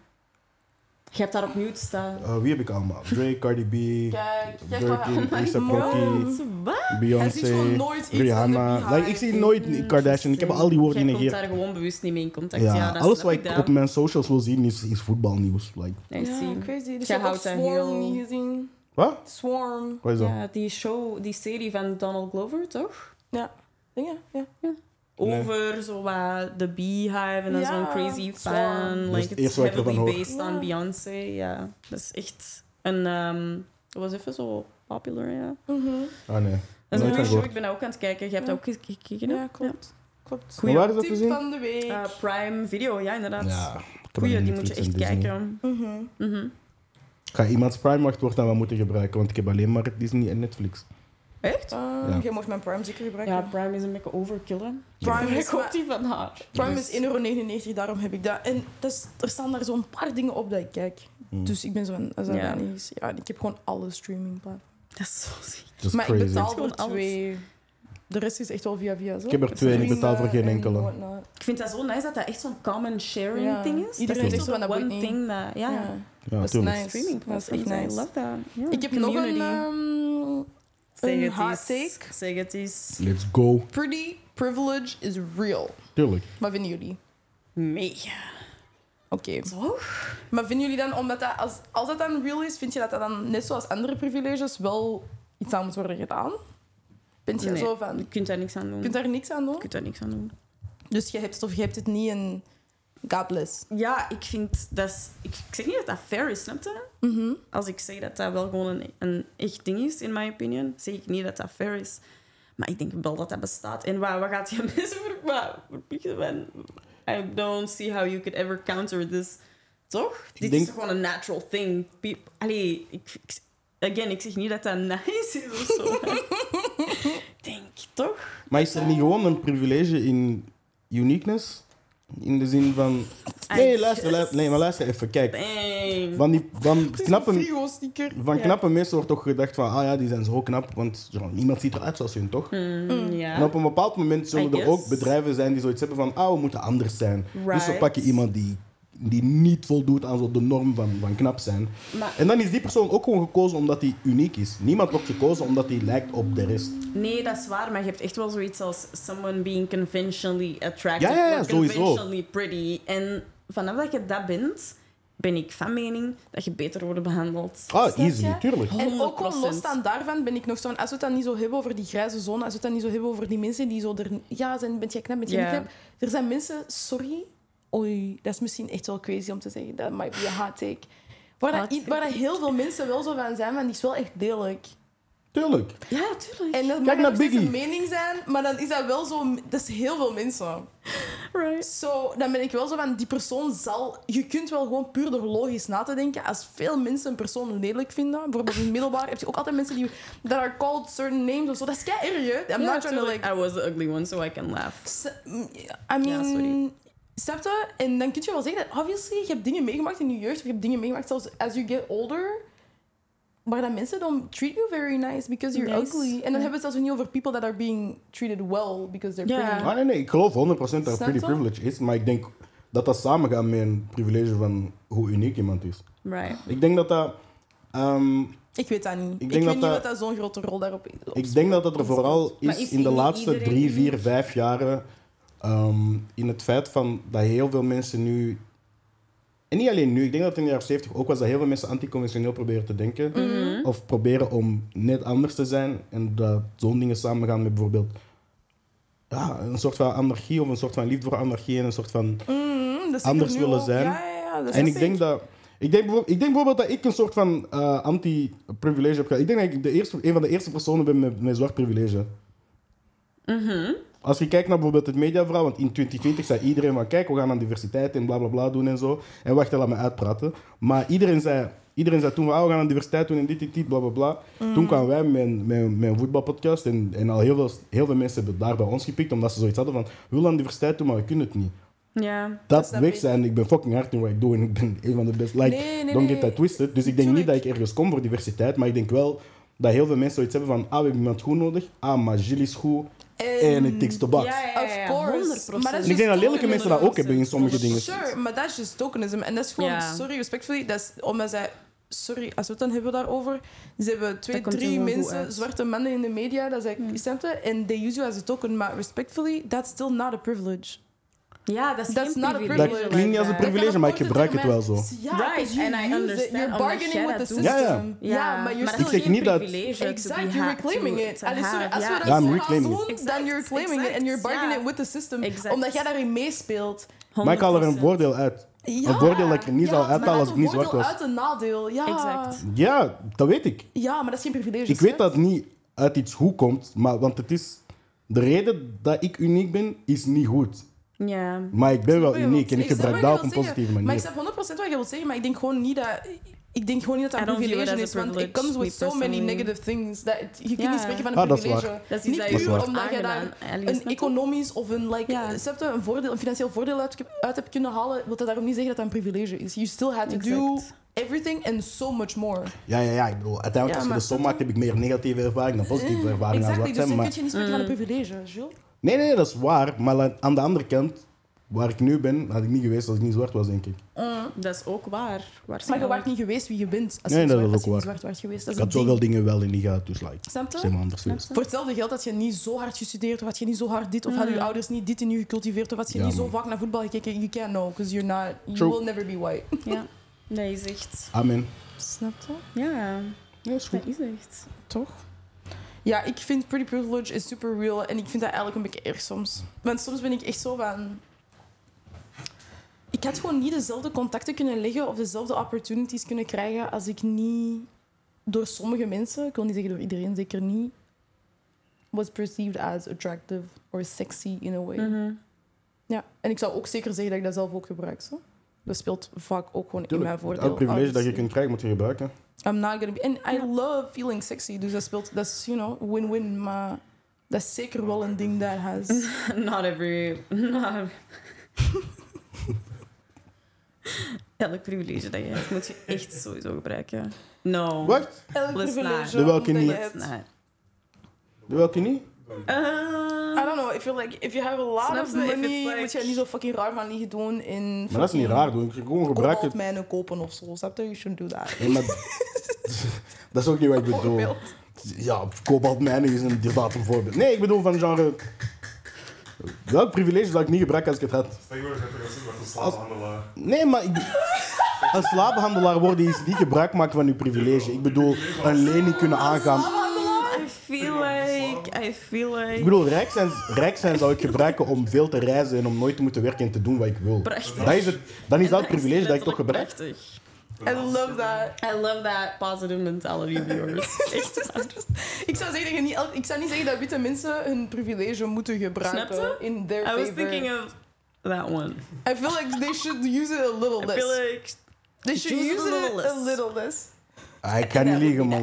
Je hebt daar op mute staan.
eh, wie heb ik allemaal? Drake, Cardi B,
Kijk, kijk wat hij-
Durkin, Lisa
God.
Rocky,
Wat?
Hij ziet gewoon
Beyoncé,
nooit iets aan de
Rihanna.
beehive.
Like, ik zie nooit Kardashian, ik heb al die woorden
Jij komt
genegeerd.
daar gewoon bewust niet mee in contact. Ja,
Ja,
dat
alles
snap
wat
ik
ik
dan.
op mijn socials wil zien is, is voetbalnieuws. Like,
I see.
Ja, crazy. Dus
Jij
je hebt ook
houdt dat heel-
Swarm niet gezien.
wat?
Swarm.
Wat is dat?
Ja, die show, die serie van Donald Glover, toch?
Ja. Ja, ja.
Nee.
Over zo wat de Beehive en dan
Ja,
zo'n crazy
zwaar.
fan.
Dat is het
Like, it's
eerste wat ik ervan
heavily
hoor.
based on
Ja.
Beyoncé. Ja, dat is echt een... ehm, dat was even zo popular, ja.
Mhm.
Ah nee.
Dat is
Nooit
een goede show,
gehoord.
ik ben dat ook aan het kijken. Je hebt
Ja.
dat ook gekeken, hè?
Ja, klopt. Klopt.
Maar waar is dat te
Tip
zien?
van de week.
Ja. Eh, Prime Video, ja, inderdaad.
Ja, ik heb dat
Goeie,
in
die moet
Netflix
je
en
echt
Disney.
kijken.
Mhm.
Mhm.
Ik ga iemands Prime wachtwoord aan wat moeten gebruiken, want ik heb alleen maar Disney en Netflix.
Echt?
Ehm,
Ja.
Jij mocht mijn Prime zeker gebruiken.
Ja, Prime is een beetje overkillen.
Prime
Ik
is
hoop die van haar.
Prime
Dus-
is 1,99 euro, daarom heb ik dat. En dat is- er staan daar zo'n paar dingen op dat ik kijk.
Hmm.
Dus ik ben zo'n als dat
Ja.
dan is. Ja, en ik heb gewoon alle streamingplatforms.
Dat is zo ziek.
Dat is
Maar
crazy.
ik betaal
Gewoon
voor
alles.
twee. De rest is echt wel via via zo.
Ik heb er twee en ik betaal voor geen
Vrienden
enkele.
en whatnot.
Ik vind dat zo nice dat dat echt zo'n common sharing
Ja.
ding is.
Iedereen
dat is
zegt zo
zo'n
van, dat
one
moet niet.
thing dat... Ja,
Ja.
Ja,
dat is
tuurlijk.
nice.
streaming
Dat is echt
platforms, I
nice.
love that. Ja.
Ik heb nog een ehm,
Zeg
een
het
hot
eens.
take.
Zeg het eens.
Let's go.
pretty privilege is real.
Tuurlijk.
Wat vinden jullie?
Mega.
Oké.
Zo?
Maar vinden jullie dan, omdat dat als, als dat dan real is, vind je dat dat dan net zoals andere privileges wel iets aan moet worden gedaan? Bent je
Nee.
zo van?
Je
Je
kunt daar niks aan doen.
kunt daar niks aan doen?
Je kunt daar niks aan doen.
Dus je hebt het of je hebt het niet en God bless.
Ja, ik vind dat... is- Ik, ik zeg niet dat dat fair is, snap je?
Mhm.
Als ik zeg dat dat wel gewoon een, een echt ding is, in my opinion, zeg ik niet dat dat fair is. Maar ik denk wel dat dat bestaat. En waar, waar gaat je [laughs] mensen voor waar- verplichten? van? I don't see how you could ever counter this. Toch? Dit
denk-
is toch gewoon een natural thing. Peop- Allee, ik, ik, again, ik zeg niet dat [laughs] dat nice is of zo. Ik denk, toch?
Maar is er niet gewoon een privilege in uniqueness? In de zin van. Nee, luister, luister, nee, maar luister even, kijk.
Bang.
Van, die,
[laughs]
van,
Het is
knappe,
een frigo-sticker.
van
Ja.
knappe mensen wordt toch gedacht van, ah ja, die zijn zo knap, want ja, niemand ziet eruit zoals hun, toch?
Mm, ja.
En op een bepaald moment zullen
I
er
guess.
ook bedrijven zijn die zoiets hebben van, ah, we moeten anders zijn. Dus we
Right.
pakken iemand die, die niet voldoet aan zo de norm van, van knap zijn.
Maar-
En dan is die persoon ook gewoon gekozen omdat hij uniek is. Niemand wordt gekozen omdat hij lijkt op de rest.
Nee, dat is waar, maar je hebt echt wel zoiets als someone being conventionally attractive
Ja, ja, ja,
or
sowieso.
conventionally pretty. En vanaf dat je dat bent, ben ik van mening dat je beter wordt behandeld.
Ah,
Snap
easy,
je?
natuurlijk.
En ook al
100%.
losstaan daarvan ben ik nog zo'n... Als we het dan niet zo hebben over die grijze zone, als we het dan niet zo hebben over die mensen die zo er... Ja, zijn, ben jij knap, ben jij
Ja.
niet knap. Er zijn mensen, sorry, oei, dat is misschien echt wel crazy om te zeggen. Dat might be a hot take. Waar, dat
Hot
i-
take.
waar dat heel veel mensen wel zo van zijn, maar die is wel echt degelijk.
Tuurlijk.
Ja, tuurlijk.
En dat
Kijk
mag
naar
nog steeds
Biggie.
een mening zijn, maar dan is dat wel zo... Dat is heel veel mensen.
Right.
Zo, dan ben ik wel zo van, die persoon zal... Je kunt wel gewoon puur door logisch na te denken. Als veel mensen een persoon lelijk vinden, bijvoorbeeld in het middelbaar, heb je ook altijd mensen die... That are called certain names of zo. Dat is kei erg, hè? I'm
Ja,
not trying to,
tuurlijk.
like...
I was the ugly one, so I can laugh.
s- mm, I mean...
Ja, sorry.
Snap je? En dan kun je wel zeggen dat, obviously, je hebt dingen meegemaakt in je jeugd. Of je hebt dingen meegemaakt zelfs as you get older. Maar dat mensen dan treat you very nice because you're
Nice.
ugly. En dan hebben we het zelfs niet over people that are being treated well because they're
Ja.
pretty.
Ah, nee, nee, ik geloof 100% dat er
Snap
pretty
je?
privilege is, maar ik denk dat dat samengaat met een privilege van hoe uniek iemand is.
Right.
Ik denk dat dat... ehm,
Ik weet dat niet. Ik,
denk
weet
dat
niet
dat-
wat dat zo'n grote rol daarop is.
Ik denk dat het er vooral
Maar
is,
is
in de
niet
laatste
iedereen
drie,
uniek?
vier, vijf jaren. ehm, in het feit van dat heel veel mensen nu. En niet alleen nu, ik denk dat het in de jaren 70 ook was dat heel veel mensen anticonventioneel proberen te denken.
Mhm.
Mm-hmm.
Of proberen om net anders te zijn. En dat zo'n dingen samengaan met bijvoorbeeld. Ja, een soort van anarchie of een soort van liefde voor anarchie en een soort van
Mm, dat zie ik
anders
er nu
willen
ook.
zijn.
Ja, ja, ja, dat
en
is
ik denk dat. Ik denk, bijvoorbeeld- ik denk bijvoorbeeld dat ik een soort van eh, anti-privilege heb gehad. Ik denk dat ik de eerste, een van de eerste personen ben met, met zwart privilege.
Mhm.
Als je kijkt naar bijvoorbeeld het mediaverhaal, want in 2020 zei iedereen van kijk, we gaan aan diversiteit en bla bla bla doen en zo. En wacht, laat me uitpraten. Maar iedereen zei, iedereen zei toen van ah, we gaan aan diversiteit doen en dit, dit, dit, bla bla bla.
Mhm.
Toen kwamen wij met een, met, een- met een voetbalpodcast en, en al heel veel, heel veel mensen hebben daar bij ons gepikt omdat ze zoiets hadden van we willen aan diversiteit doen, maar we kunnen het niet
Ja.
dat
snap
weg
ik.
zijn. Ik ben fucking hard in wat ik doe en ik ben een van de best. Like,
Nee, nee,
don't
nee.
get that twisted. Dus ik denk niet
Tuurlijk.
dat ik ergens kom voor diversiteit, maar ik denk wel dat heel veel mensen zoiets hebben van, ah, we hebben iemand goed nodig, ah, maar Gilles is goed
Ehm,
en ik tik de box.
Of course. Maar dat is dus
En ik denk dat
just
lelijke mensen dat ook hebben in sommige dingen.
Sure, maar dat is just tokenism. En dat is gewoon,
Ja.
sorry, respectfully, dat is omdat zij... Sorry, als we het dan hebben daarover. Ze hebben twee,
Dat komt er
drie
gewoon goed
mensen,
uit. Hmm.
zwarte mannen in de media, dat zij snapte. En they use you as a token. Maar respectfully, that's still not a privilege.
Ja, dat is
That's
geen
not a
privilege.
Dat
privilege.
klinkt niet als een
like that.
privilege, maar ik gebruik het wel zo.
Ja,
Right,
because you
and I
use it.
understand
You're
omdat
bargaining
jij
with the
dat
system.
doet.
Ja, ja.
Ja, maar you're
dat
still
is
Ik zeg
geen
niet dat-
privilege to
Exactly,
be
you're
ha-
reclaiming
to-
it.
to
Allee, sorry,
have,
als
ja.
we dat
Ja, I'm
zo
reclaiming
gaan doen,
it.
dan you're claiming it
Exact,
and you're bargaining
ja.
it with the system.
Exact.
Omdat jij daarin meespeelt.
Maar ik haal er een
100%.
voordeel uit. Een voordeel dat ik er niet
ja,
zou
maar
uithalen
dat
als
is
ik niet
een
zwart
voordeel
was.
uit een nadeel, ja. [gasps]
Exact.
Ja, dat weet ik.
Ja, maar dat is geen privilege.
Ik weet
hè?
dat het niet uit iets goed komt, maar, want het is... De reden dat ik uniek ben, is niet goed.
Ja.
Maar ik ben wel
snap wat je
uniek en
wilt zeggen.
ik gebruik
snap
dat
wat
op een
je wilt
positieve
zeggen. Maar ik
manier.
snap 100% wat je wilt zeggen, maar ik denk gewoon niet dat... Ik denk gewoon niet dat
I
dat een
don't view it
privilege
as a
is, want it
privilege,
comes with
me
so many
personally.
negative things. Dat het- je kunt
Ja.
niet spreken van een
Ah, dat is
privilege.
Dat is iets
niet
dat
je
puur
wordt
omdat je daar
aangedaan. Allee,
een
snap je?
economisch of een, like, eh,
Ja.
snap je, een, voordeel, een financieel voordeel uit, uit hebt kunnen halen, wil dat daarom niet zeggen dat dat een privilege is. You still had to do
Exact.
everything and so much more.
Ja, ja, ja. Ik bedoel, uiteindelijk,
Ja,
als je
maar
de som
dat
maakt, heb ik meer negatieve ervaring dan positieve ervaring aan
Exactly,
zwart
dus
nou,
dan kun
zijn. Maar...
je niet spreken van
Mm.
een privilege, Jules.
Nee, nee, dat is waar. Maar la- aan de andere kant, waar ik nu ben, had ik niet geweest als ik niet zwart was, denk ik.
Dat is ook waar.
Maar je waart niet geweest wie je bent als
Nee,
je,
dat
zwart,
is
als
ook
je niet
waar.
zwart waart geweest. Dat
Ik
is een
had
ding.
zoveel dingen wel in die gehad, dus like,
Snap je?
zeg maar anders geweest.
Voor hetzelfde geld had je niet zo hard gestudeerd, of had je niet zo hard dit, of hadden je ouders niet dit in je gecultiveerd, of had je
Ja,
niet zo
man.
vaak naar voetbal gekeken. You can't know, because you're not, you
True.
will never be white.
Ja. Dat is echt...
Amen.
Snap je?
Ja.
Ja, is goed.
Dat is echt...
Toch? Ja, ik vind pretty privilege is super real en ik vind dat eigenlijk een beetje erg soms. Want soms ben ik echt zo van. Ik had gewoon niet dezelfde contacten kunnen leggen of dezelfde opportunities kunnen krijgen als ik niet door sommige mensen, ik wil niet zeggen door iedereen, zeker niet, was perceived as attractive or sexy in a way.
Mhm.
Ja, en ik zou ook zeker zeggen dat ik dat zelf ook gebruik. Zo. Dat speelt vaak ook gewoon in mijn
Tuurlijk,
voordeel.
het privilege dat je
obviously.
kunt krijgen moet je gebruiken.
I'm not gonna be. And I love feeling sexy. Dus dat speelt, dat is, you know, win-win. Maar dat is zeker wel een ding dat
[laughs]
has.
[laughs] Not every. Not... [laughs] Elk privilege dat je hebt, moet je echt sowieso gebruiken. No.
Wat?
Elk
Let's
privilege.
not.
De welke
dat je
niet.
hebt.
It's not.
Welke niet?
Uh,
I don't know. I feel like if you have a lot
Snap
of
je? If
money,
it's like-
moet je er niet zo fucking raar van liggen doen in.
Maar dat is niet raar, doe ik gewoon gebruik het.
Kobaltmijnen kopen of zo. Snap je? You shouldn't do that.
Nee,
[laughs]
maar dat is ook niet wat ik bedoel.
Bijvoorbeeld.
Ja, kobaltmijning is inderdaad een voorbeeld. Nee, ik bedoel van genre. Welk privilege zou ik niet gebruiken als ik het had?
Stel je voor, je bent er een super te slaaphandelaar.
Nee, maar ik- [laughs] als slavenhandelaar worden is niet gebruik maken van uw privilege. Ik bedoel, een lening kunnen aangaan.
Oh, I feel like. I feel
Ik
like.
bedoel, rijk zijn, rijk zijn zou ik gebruiken om veel te reizen en om nooit te moeten werken en te doen wat ik wil.
Prachtig.
Dat is het, dan is
En
dat het privilege dat ik toch
letterlijk
gebruik.
prachtig.
I love that. [laughs]
I love that positive mentality of [laughs] yours. Echt waar.
Ik zou, zeggen, dat je niet elk- ik zou niet zeggen dat witte mensen hun privilege moeten gebruiken.
Snap
In their
I
favor.
was thinking of that one.
I feel like they should use it a little
I
less.
feel like.
they should
choose
use
it a little
it a
less.
little less.
Ah, ik kan niet liegen, man.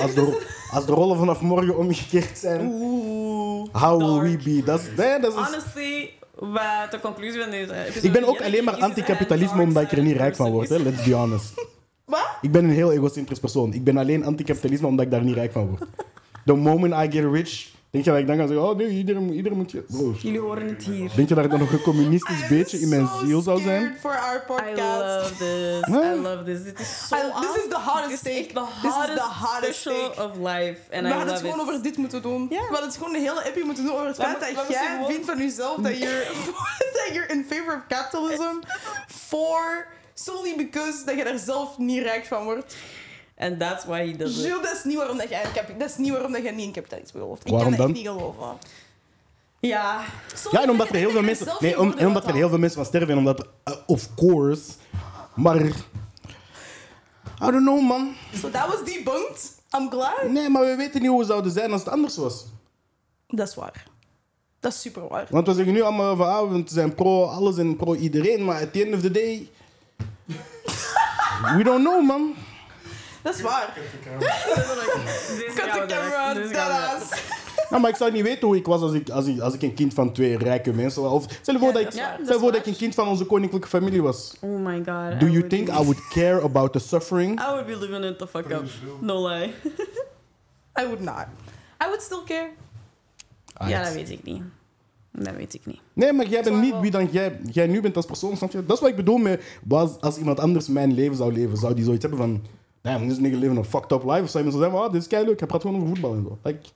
Als de, ro- als de rollen vanaf morgen omgekeerd zijn,
Ooh.
how will we
dark.
be? Dat is, nee, dat is,
Honestly, wat de conclusie van deze episode
Dus- ik ben ook
is,
alleen maar
is, is
anticapitalisme
een
omdat ik er niet rijk van word, hè.
person.
let's be honest.
Wat?
Ik ben een heel egocentrisch persoon. Ik ben alleen anticapitalisme omdat ik daar niet rijk van word. The moment I get rich, denk je dat ik dan ga zeggen, oh nee, iedereen, iedereen moet je... Bro,
Jullie horen het hier.
denk je dat ik dan nog een communistisch beetje in mijn ziel zou zijn?
for our
I
podcast.
love this. I
Huh?
love this. Dit is zo
I- this is the hottest take.
The
This is the
hottest,
hottest
special
take.
of life. And
We
I
hadden het
love
gewoon
it.
over dit moeten doen.
Ja.
We hadden het gewoon een hele episode moeten doen over het
We
feit
moeten-
dat
we moeten
jij
gewoon-
vindt van jezelf dat je
[laughs]
[laughs] dat you're in favor of capitalism for solely because dat je daar zelf niet rijk van wordt.
And that's why he does it.
Jules, dat is niet waarom dat jij, in capi- dat is niet waarom dat jij niet in kapitalisme gelooft. Ik
Waarom
kan dat
dan?
echt niet geloven. [laughs]
Ja.
Ja, en omdat er heel veel mensen, nee, om, en omdat er heel veel mensen van sterven en omdat, eh, of course, maar... I don't know, man.
So that was debunked. I'm glad.
Nee, maar we weten niet hoe we zouden zijn als het anders was.
Dat is waar. Dat is super waar.
Want we zeggen nu allemaal van, ah, we zijn pro alles en pro iedereen, maar at the end of the
[laughs]
day... We don't know, man.
Dat is waar. Cut the camera, deadass.
Ja, Nou, maar ik zou niet weten hoe ik was als ik, als ik, als ik een kind van twee rijke mensen was. Of stel je voor,
Ja,
dat,
dat
ik,
is waar.
stel
Ja,
je
dat is
voor dat
waar.
ik een kind van onze koninklijke familie was.
Oh my god.
Do
I
you
would
think
be-
I would care about the suffering?
I would be living it the fuck up.
Please do.
No lie.
I would not. I would still care.
Ah, Ja, dat weet ik niet. Dat weet ik niet.
Nee, maar jij bent
Zwaar
niet
wel.
wie dan jij, jij nu bent als persoon, snap je? Dat is wat ik bedoel met, was, als iemand anders mijn leven zou leven, zou die zoiets hebben van... Damn, this nigga living a fucked up life. Of zou iemand zo zeggen, ah, dit is kei leuk, hij praat gewoon over voetbal en zo. Like,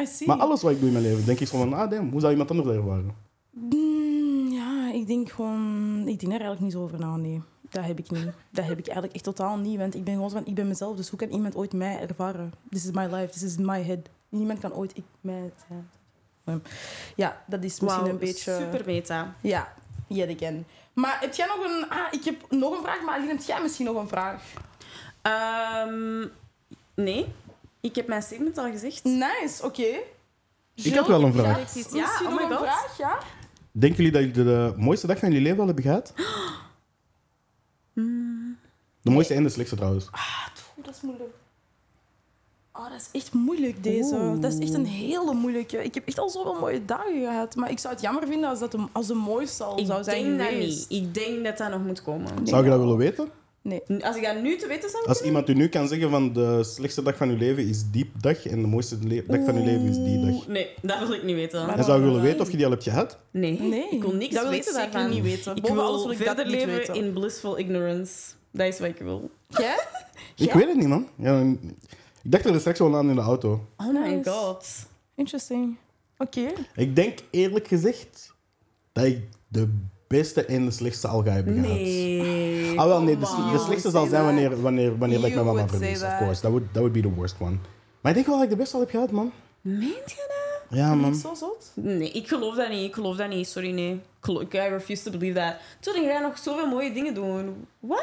I see.
maar alles wat ik doe in mijn leven, denk ik zo van, ah damn, hoe zou iemand anders dat ervaren?
Mm, ja, ik denk gewoon... Ik denk daar eigenlijk niet zo over na, nee. Dat heb ik niet. Dat heb ik eigenlijk echt totaal niet. Want ik ben gewoon zo van, ik ben mezelf. Dus hoe kan iemand ooit mij ervaren? This is my life. This is my head. Niemand kan ooit ik mij zijn. Um, Ja, dat is misschien
Wauw,
een beetje...
super meta.
Ja, yet again. Maar heb jij nog een... Ah, ik heb nog een vraag. Maar Aline, heb jij misschien nog een vraag?
Ehm, nee, ik heb mijn statement al gezegd.
Nice, oké.
Ik heb wel een vraag.
Precies,
Ja,
ja, oh my
nog een
god.
vraag, ja?
Denken jullie dat jullie de mooiste dag van jullie leven al hebben gehad? De mooiste en de slechtste trouwens.
Oeh, dat is moeilijk. Oh, dat is echt moeilijk, deze. Dat is echt een hele moeilijke. Ik heb echt al zoveel mooie dagen gehad. Maar ik zou het jammer vinden als dat de, als de mooiste al
Ik
zou zijn
denk dat
geweest.
niet. Ik denk dat dat nog moet komen.
Zou je dat willen weten?
Nee.
Als ik dat nu te weten zou
Als iemand u nu kan zeggen van de slechtste dag van uw leven is die dag en de mooiste le- dag van uw leven is die dag.
Nee, dat wil ik niet weten.
Maar-
En zou je willen weten of je die al hebt gehad?
nee.
Nee.
ik wil niks
dat wil
weten
ik zeker
daarvan.
niet weten.
Ik
Boven
wil
alles wil ik dat
verder
niet
leven
weten.
in blissful ignorance. Dat is wat ik wil.
Jij?
Ik
[laughs] Ja.
weet het niet, man. Ja, ik dacht er straks wel aan in de auto.
Oh my
Nice.
god.
Interesting. Oké.
Ik denk eerlijk gezegd dat ik de beste en de slechtste al ga hebben gehad.
Nee.
Ah, wel, nee, de,
Come on.
de slechtste zal zijn wanneer, wanneer, wanneer dat ik
You
mijn mama
would say
verlies, of
that.
course. That would, that would be the worst one. Maar ik denk wel dat ik de beste al heb gehad, man.
Meent je dat?
Ja,
Niet
man.
Zo zot?
Nee, ik geloof dat niet. Ik geloof dat niet. Sorry, nee. Ik gelo- I refuse to believe that. Toen ging jij nog zoveel mooie dingen doen. Wat?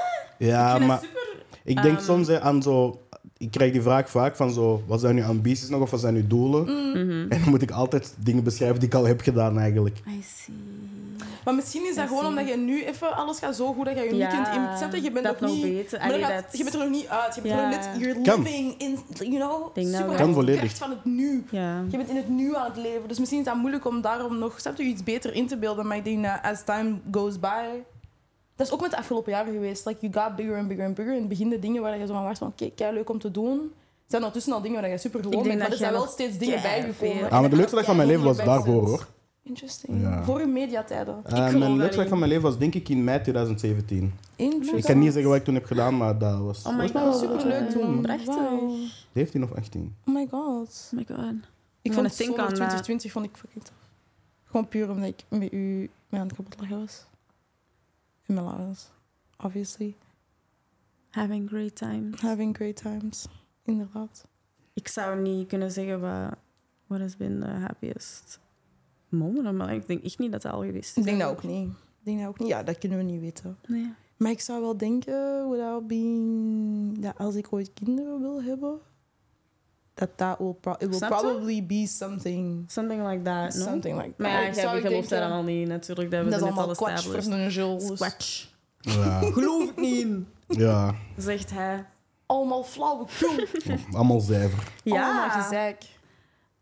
ik
Ja,
vind
Ah, maar
dat super...
Ik denk
Ehm.
soms hè, aan zo... Ik krijg die vraag vaak van zo... Wat zijn uw ambities nog of wat zijn uw doelen?
Mm.
[laughs] En dan moet ik altijd dingen beschrijven die ik al heb gedaan eigenlijk.
I see.
Maar misschien is dat
I
gewoon
see.
omdat je nu even alles gaat zo goed dat je je
Ja,
weekend in. Snap je? Je bent
dat
nog
nog
niet.
beter.
Maar
Allee,
dat gaat-
dat-
je bent er nog niet uit. Je bent
Ja.
er net. You're
Kan.
living in. You know?
denk dat
super
wel.
Kan
de
volledig.
kracht van het nu.
Ja. Oh
Je bent in het nu aan het leven. Dus misschien is dat moeilijk om daarom nog. Snap je? Iets beter in te beelden. Maar ik denk dat as time goes by. Dat is ook met de afgelopen jaren geweest. Like, you got bigger and bigger and bigger. In het begin de dingen waar je zo van was van, oké, leuk om te doen. Zijn ondertussen al dingen waar je super gewoon
Ik denk
bent. Maar er
dat
zijn
jij
wel
nog
steeds dingen
keihard
bijgekomen.
veel-
Ah, maar de leukste dag van mijn leven was daarvoor, hoor.
Interesting.
Ja.
Vorige mediatijden.
Eh,
geloof
mijn leukste
daarin.
dag van mijn leven was denk ik in mei 2017.
Interesting.
Ik kan niet zeggen wat ik toen heb gedaan, maar dat was...
Oh my
was
god.
wel
superleuk toen.
Prachtig.
Wauw.
17 of 18.
Oh my god.
Oh my god.
Ik
gonna
vond het
think
zomer
on that.
2020 vond ik fucking tof. Gewoon puur omdat ik met u mee aan het kapot lachen was. In mijn ouders. Obviously.
Having great time.
Having great times. Inderdaad.
Ik zou niet kunnen zeggen wat what has been the happiest moment, maar ik denk echt niet dat dat al geweest is.
Ik denk dat ook niet. Ik denk dat ook niet. Ja, dat kunnen we niet weten.
Nee.
Maar ik zou wel denken, without being, dat als ik ooit kinderen wil hebben, dat dat will, pro- it will
Snap je?
probably be something.
Something like that, no?
Something like that.
Maar ja,
Ik
jij
zou
gelooft
denken,
daar al niet natuurlijk. Dat
Dat
hebben
is
we net al
allemaal kwatsch voor
established.
een Jules.
Squatch.
Ja.
Geloof ik niet. [laughs]
ja,
Zegt hij.
Allemaal flauwekul.
[laughs]
allemaal cijfer.
Allemaal gezeik.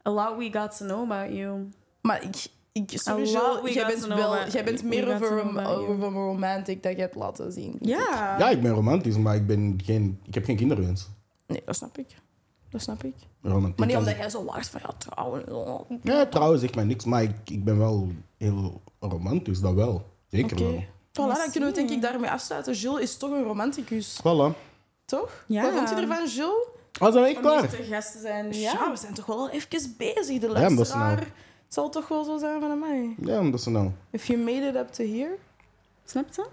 A lot we got to know about you.
Maar ik, ik sorry,
lot
Jules,
we
jij
got
bent
to know
wel,
about-
jij bent
we
meer
got to
over
know
een,
about you.
over een romantic dat je hebt laten zien. denk ik.
Ja.
Ja, ik ben romantisch, maar ik, ben geen, ik heb geen kinderwens.
Nee, dat snap ik. Dat snap ik.
Romantiek
Maar niet
als-
omdat jij zo wacht van ja, trouwen. Oké.
Ja, trouwens, zegt mij niks, maar ik, ik ben wel heel romantisch, dat wel. Zeker wel.
Voilà, dan kunnen we
zie
denk ik daarmee afsluiten. Jules is toch een romanticus,
Voilà.
toch?
Ja.
Wat vond je ervan, Jules?
Oh, zijn we echt
Om hier
klaar?
te gasten zijn.
Ja.
Ja.
we zijn toch wel al even bezig. De
maar dat is
luisteraar
nou-
zal toch wel zo zijn van mij.
Ja, omdat ze nou...
If you made it up to here,
Snap je?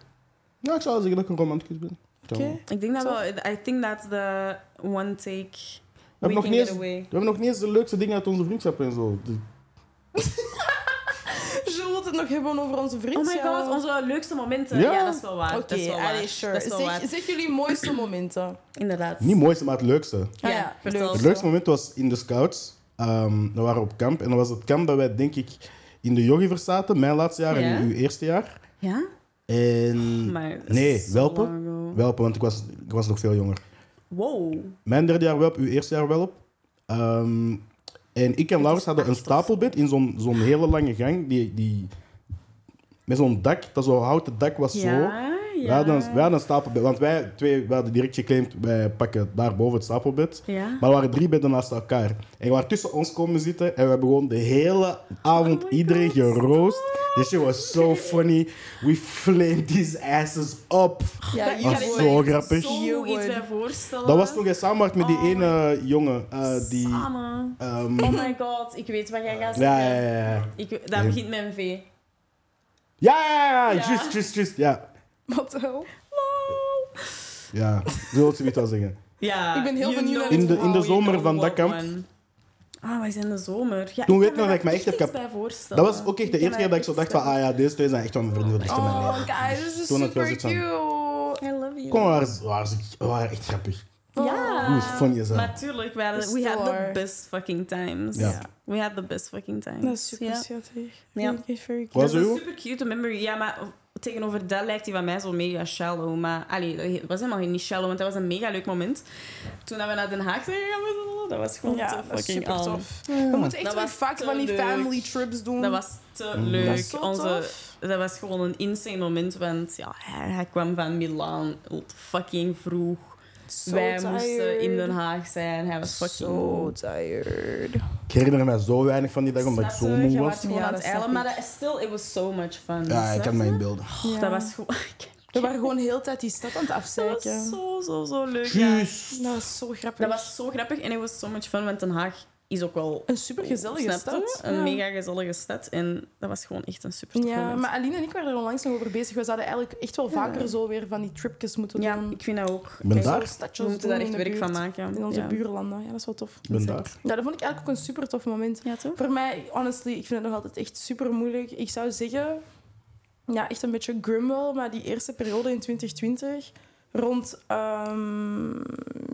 Ja, ik zou zeggen dat ik een romanticus ben.
oké.
Zo. We
Ik denk dat
Toch?
wel. I think that's the one take. We,
hebben
can
nog niet
get
eens-
away.
hebben nog niet eens de leukste dingen uit onze vriendschap en zo. De-
Jules wil het nog hebben over onze
Oh
vriendschap.
my god, onze leukste momenten.
Ja.
Ja, dat is wel waar.
Oké,
dat is wel waar.
allee, sure.
Dat is wel waar.
Zeg, zeg jullie mooiste momenten.
Inderdaad.
Niet mooiste, maar het leukste.
Ja,
Ah ja,
vertel.
leuk.
Het leukste moment was in de scouts. Ehm we waren op kamp en dat was het kamp dat wij, denk ik, in de yogi zaten. Mijn laatste jaar
Ja.
en uw eerste jaar.
Ja?
En...
Maar dat is
Nee,
zo
welpen.
lang ago.
Welpen, want ik was, ik was nog veel jonger.
Wow.
Mijn derde jaar wel op, uw eerste jaar wel op. Ehm, en ik en Laurens hadden een stapelbed in zo'n zo'n hele lange gang. Die, die, met zo'n dak, dat zo'n houten dak was zo.
Ja,
We,
ja.
hadden, een- we hadden een stapelbed, want wij twee we hadden direct geclaimd, wij pakken daarboven het stapelbed.
Ja.
Maar er waren drie bedden naast elkaar. En we waren tussen ons komen zitten en we hebben gewoon de hele avond
Oh my
iedereen
God, Oh
geroost. This shit was so funny. We flamed these asses up.
Ja,
Dat
you
kan
was
ik
would.
me
zo
echt
grappig.
Zo
You
iets
would.
bij voorstellen.
Dat was toen jij samenwerkt met die
Oh.
ene jongen eh, die...
Samen.
ehm,
Oh my god, ik weet wat jij gaat
Ja,
zeggen.
ja, ja. ja.
Ik, daar begint mijn V.
Ja, ja, ja,
Ja.
juist, juist, juist. Ja,
Wat de hel?
Lol.
ja. zo wil ze niet al zeggen.
[laughs] Ja.
Ik ben heel
you
benieuwd
know
naar dit
In de- in de
how, you
zomer
know
van dat
what,
kamp.
man. Ah, wij zijn in de zomer. Ja,
Toen weet
kan
ik
me
nog dat ik me
daar
echt heb
iets
kap-
bij voorstellen.
Dat was ook echt de
kan
eerste keer
me
dat ik zo
iets
dacht
bij
van, ah ja, deze twee zijn echt van mijn vrienden voor de rest van mijn
Oh,
leven.
guys, this is
Toen had ik wel
super
zoiets van-
cute.
I love you.
Kom, waar is, waar is ik? Waar echt grappig.
Ja.
Hoe funny is dat?
Natuurlijk, we, hadden,
Dus
we had the
door.
best fucking times.
Ja.
We had the best fucking times.
Dat is super
Ja.
schattig.
Ja.
Vind ik echt very cute.
Was
Dat is
uw?
een super cute memory. Ja, maar tegenover dat lijkt hij van mij zo mega shallow. Maar allee, het was helemaal niet shallow, want dat was een mega leuk moment. Toen dat we naar Den Haag zijn gegaan, met z'n allen, dat was gewoon
Ja,
te
dat is
fucking
super
on.
tof. We moeten echt
Dat
weer
was
vaak
te
van die
leuk.
family trips doen.
Dat was te
Mm.
leuk.
Dat is zo
Onze,
tof.
dat was gewoon een insane moment, want ja, hij, hij kwam van Milaan fucking vroeg.
So
Wij moesten
tired.
in Den Haag zijn. Hij was fucking Oh,
So tired.
Ik herinner me zo weinig van die dag, omdat ik
Snap
zo
je?
moe
Je
was.
was gewoon
Ja,
aan
dat
het
snap
eilen, maar
ik.
dat is still, it was so much fun.
Ja, ik
Snap
kan
je?
me inbeelden.
Oh,
Ja.
Dat was gewoon... [laughs]
We waren gewoon heel de tijd die stad aan het
Dat
afzeiken.
was zo, zo, zo leuk. ja.
Juist.
Dat was zo grappig.
Dat was zo grappig en het was so much fun, want Den Haag is ook wel...
een super gezellige
snap je?
stad.
Een
Ja.
mega gezellige stad en dat was gewoon echt een super tof
Ja,
moment.
maar Aline en ik waren er onlangs nog over bezig. We zouden eigenlijk echt wel vaker zo weer van die tripjes moeten
Ja,
doen.
ik vind dat ook.
Ik ben
Kijk,
daar.
Zo stadjes
We moeten
doen
daar
in
echt
de
werk
buurt,
van maken.
In onze
ja.
buurlanden. Ja, dat is wel tof.
Ik ben daar.
Ja, dat vond ik eigenlijk ook een super tof moment.
Ja, toch?
Voor mij, honestly, ik vind het nog altijd echt super moeilijk. Ik zou zeggen, ja, echt een beetje grum wel, maar die eerste periode in 2020 rond ehm,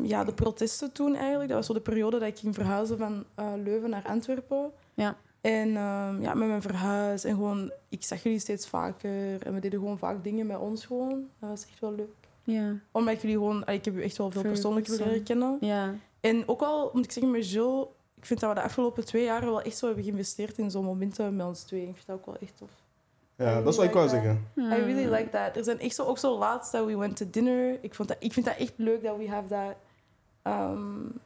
ja, de protesten toen eigenlijk. Dat was zo de periode dat ik ging verhuizen van eh, Leuven naar Antwerpen.
Ja.
En ehm, ja, met mijn verhuis en gewoon, ik zag jullie steeds vaker en we deden gewoon vaak dingen met ons gewoon. Dat was echt wel leuk.
Ja.
Omdat ik jullie gewoon, ik heb u echt wel veel
Veel
persoonlijk willen leren
persoonlijk.
kennen.
Ja.
En ook al, moet ik zeggen, met Jill, ik vind dat we de afgelopen twee jaar wel echt zo hebben geïnvesteerd in zo'n momenten met ons twee. Ik vind dat ook wel echt tof.
Ja, dat is wat ik wou zeggen.
Hmm.
I really like that. Er zijn echt zo, ook zo laatst dat we went to dinner. Ik, vond dat, ik vind dat echt leuk dat we have that. Um,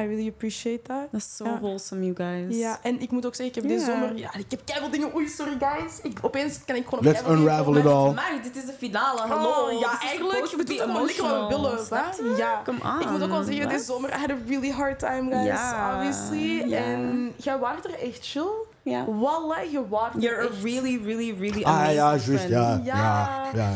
I really appreciate that.
Dat is zo
Ja.
wholesome, you guys.
Ja, en ik moet ook zeggen, ik heb deze
Ja.
zomer... Ja, ik heb keihard dingen... Oei, sorry guys. Ik, opeens kan ik gewoon... op
Let's
keiveel dingen
unravel
komen.
it all.
Maar dit is de finale, hallo.
Hallo, Oh, ja, eigenlijk, we doen gewoon lekker wat we willen. hè? Ja.
Kom aan.
Ik moet ook wel zeggen, deze zomer, I had a really hard time, guys.
Ah, Ja.
Obviously.
Ja.
En jij waart er echt chill.
Ja.
Wallah, je waart er
You're a
echt.
really, really, really
Ah
amazing
ja, juist.
friend.
Ja, ja,
Ja.
ja.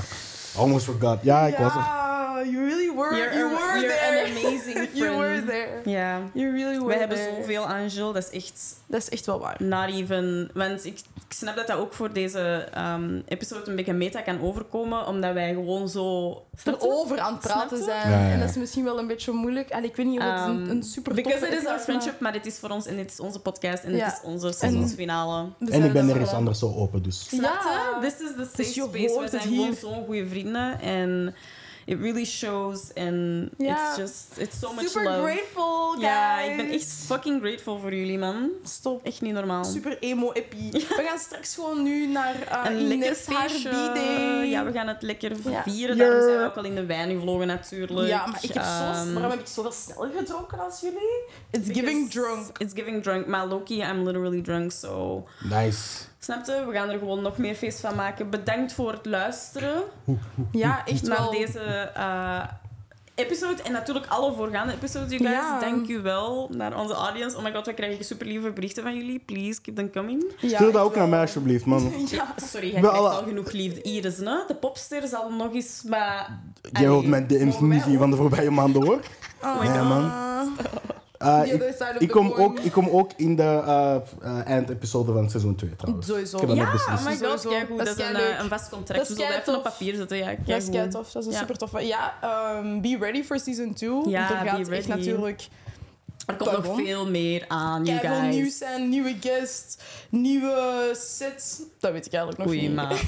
Almost forgot. Ja, ik was er.
Ja, you really were,
You're,
you
a-
were
you're
there.
an amazing friend.
[laughs] you were there.
Ja.
You really were
We hebben
there.
zoveel aan Jill, dat is echt
Dat is echt wel waar.
not even... Want ik, ik snap dat dat ook voor deze ehm, episode een beetje meta kan overkomen, omdat wij gewoon zo...
Erover aan het
Snap
praten
je?
zijn.
Ja, ja, ja.
En dat is misschien wel een beetje moeilijk. En ik weet niet of het
Ehm,
een, een super
Because
toffe
it is our
maar-
friendship, maar dit is voor ons en dit is onze podcast en
Ja.
dit is onze seizoensfinale.
We zijn
En ik ben
dat
nergens
gedaan.
anders zo open, dus.
Snap je?
Ja.
This is the safe
Dus je
space. We
hoort
zijn
het
gewoon
hier.
zo'n goede vrienden. En it really shows. And
Ja.
it's just, it's so much
Super
love.
grateful, guys.
Ja, ik ben echt fucking grateful voor jullie, man.
Stop.
Echt niet normaal.
Super emo-eppie. We gaan straks gewoon nu naar eh
een lekker feestje.
Day.
Ja, we gaan het lekker
Ja.
vieren.
Ja.
Daarom zijn we ook al in de wijn gevlogen, natuurlijk.
Ja, maar ik heb zo...
Ehm,
Waarom heb ik zoveel sneller gedronken als jullie? It's giving
because
drunk.
It's giving drunk. Maar Loki, I'm literally drunk, so...
Nice.
Snap je? We gaan er gewoon nog meer feest van maken. Bedankt voor het luisteren.
Ja, echt
naar
wel.
deze eh, episode en natuurlijk alle voorgaande episodes, you guys.
Ja.
Dank u wel naar onze audience. Oh my god, we krijgen super lieve berichten van jullie. Please, keep them [laughs] coming.
Ja,
Stuur dat
echt
ook naar
wel.
mij, alsjeblieft,
[laughs]
[laughs]
man.
Ja.
Ah, Sorry, jij
Wel,
krijgt
alle-
al genoeg liefde. Iris, hè? de popster zal nog eens, maar...
Jij
Allee,
wilt mijn DM's
mogen wij
niet zien van de voorbije maanden,
[laughs]
hoor.
Oh,
Ja, man. Eh,
The
ik-
other side of
ik,
the
kom
coin.
ook, ik kom ook in de eh, eh, eindepisode van seizoen 2, trouwens.
Sowieso.
Ik heb dat
Ja,
net
oh
beslist.
my god,
Sowieso.
keigoed.
Dat
Dat
is
is een,
keileuk.
eh, een vast contract.
Dat
We
is
zullen dat even op
keitof.
papier zetten. Ja,
Ja, is
keigoed.
kei tof. Dat is een
Ja.
super toffe. Ja, ehm, be ready for season 2.
Ja,
er gaat
be
echt
ready.
natuurlijk
Er komt nog
Pardon?
veel meer aan, you
veel
guys.
nieuws zijn, nieuwe guest, nieuwe sets. Dat weet ik eigenlijk nog
Oei,
niet.
maar... [laughs]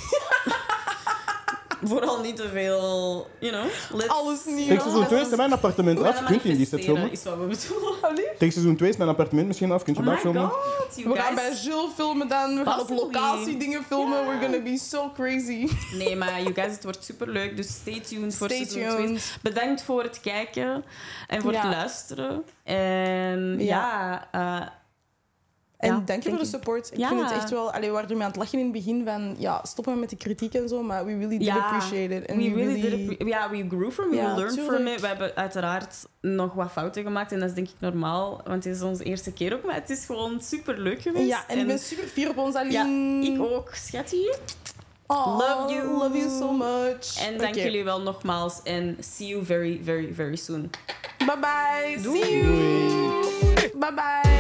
Vooral niet te veel, you know. Let's...
Alles nieuw.
Take seizoen 2 is
Dat
mijn appartement
We gaan
af.
dat
Kunt je in die set
manifesteren,
filmen?
is wat we bedoelen.
[laughs] Allee.
Take seizoen 2 is mijn appartement misschien af. Kunt je
Oh
dat
my
filmen?
god,
[laughs]
you
We gaan bij
guys.
Jill filmen dan. We gaan op
Possibly.
locatie dingen filmen.
Ja.
We're gonna be so crazy.
Nee, maar you guys, het wordt super leuk. Dus stay tuned voor
Stay
seizoen 2.
tuned.
Bedankt voor het kijken en voor
Ja.
het luisteren. En ja,
Ja.
eh,
En
Ja,
dank je voor
thank
de
you.
support. Ik
Ja.
vind het echt wel... Allee, we waren ermee aan het lachen in het begin van... Ja, stoppen met de kritiek en zo. Maar we really did
Ja.
appreciate it.
we
And we,
really, did appre- Ja, we grew from, we
Ja,
learned
tuurlijk.
from it. We hebben uiteraard nog wat fouten gemaakt. En dat is denk ik normaal, want het is onze eerste keer ook. Maar het is gewoon super leuk geweest.
Ja, en ik ben super fier op ons, Aline.
ik ook, schatje.
Aw,
Love you.
Love you so much.
En dank
Oké.
jullie wel nogmaals. En see you very, very, very soon.
Bye bye.
Doei.
See you. Bye bye.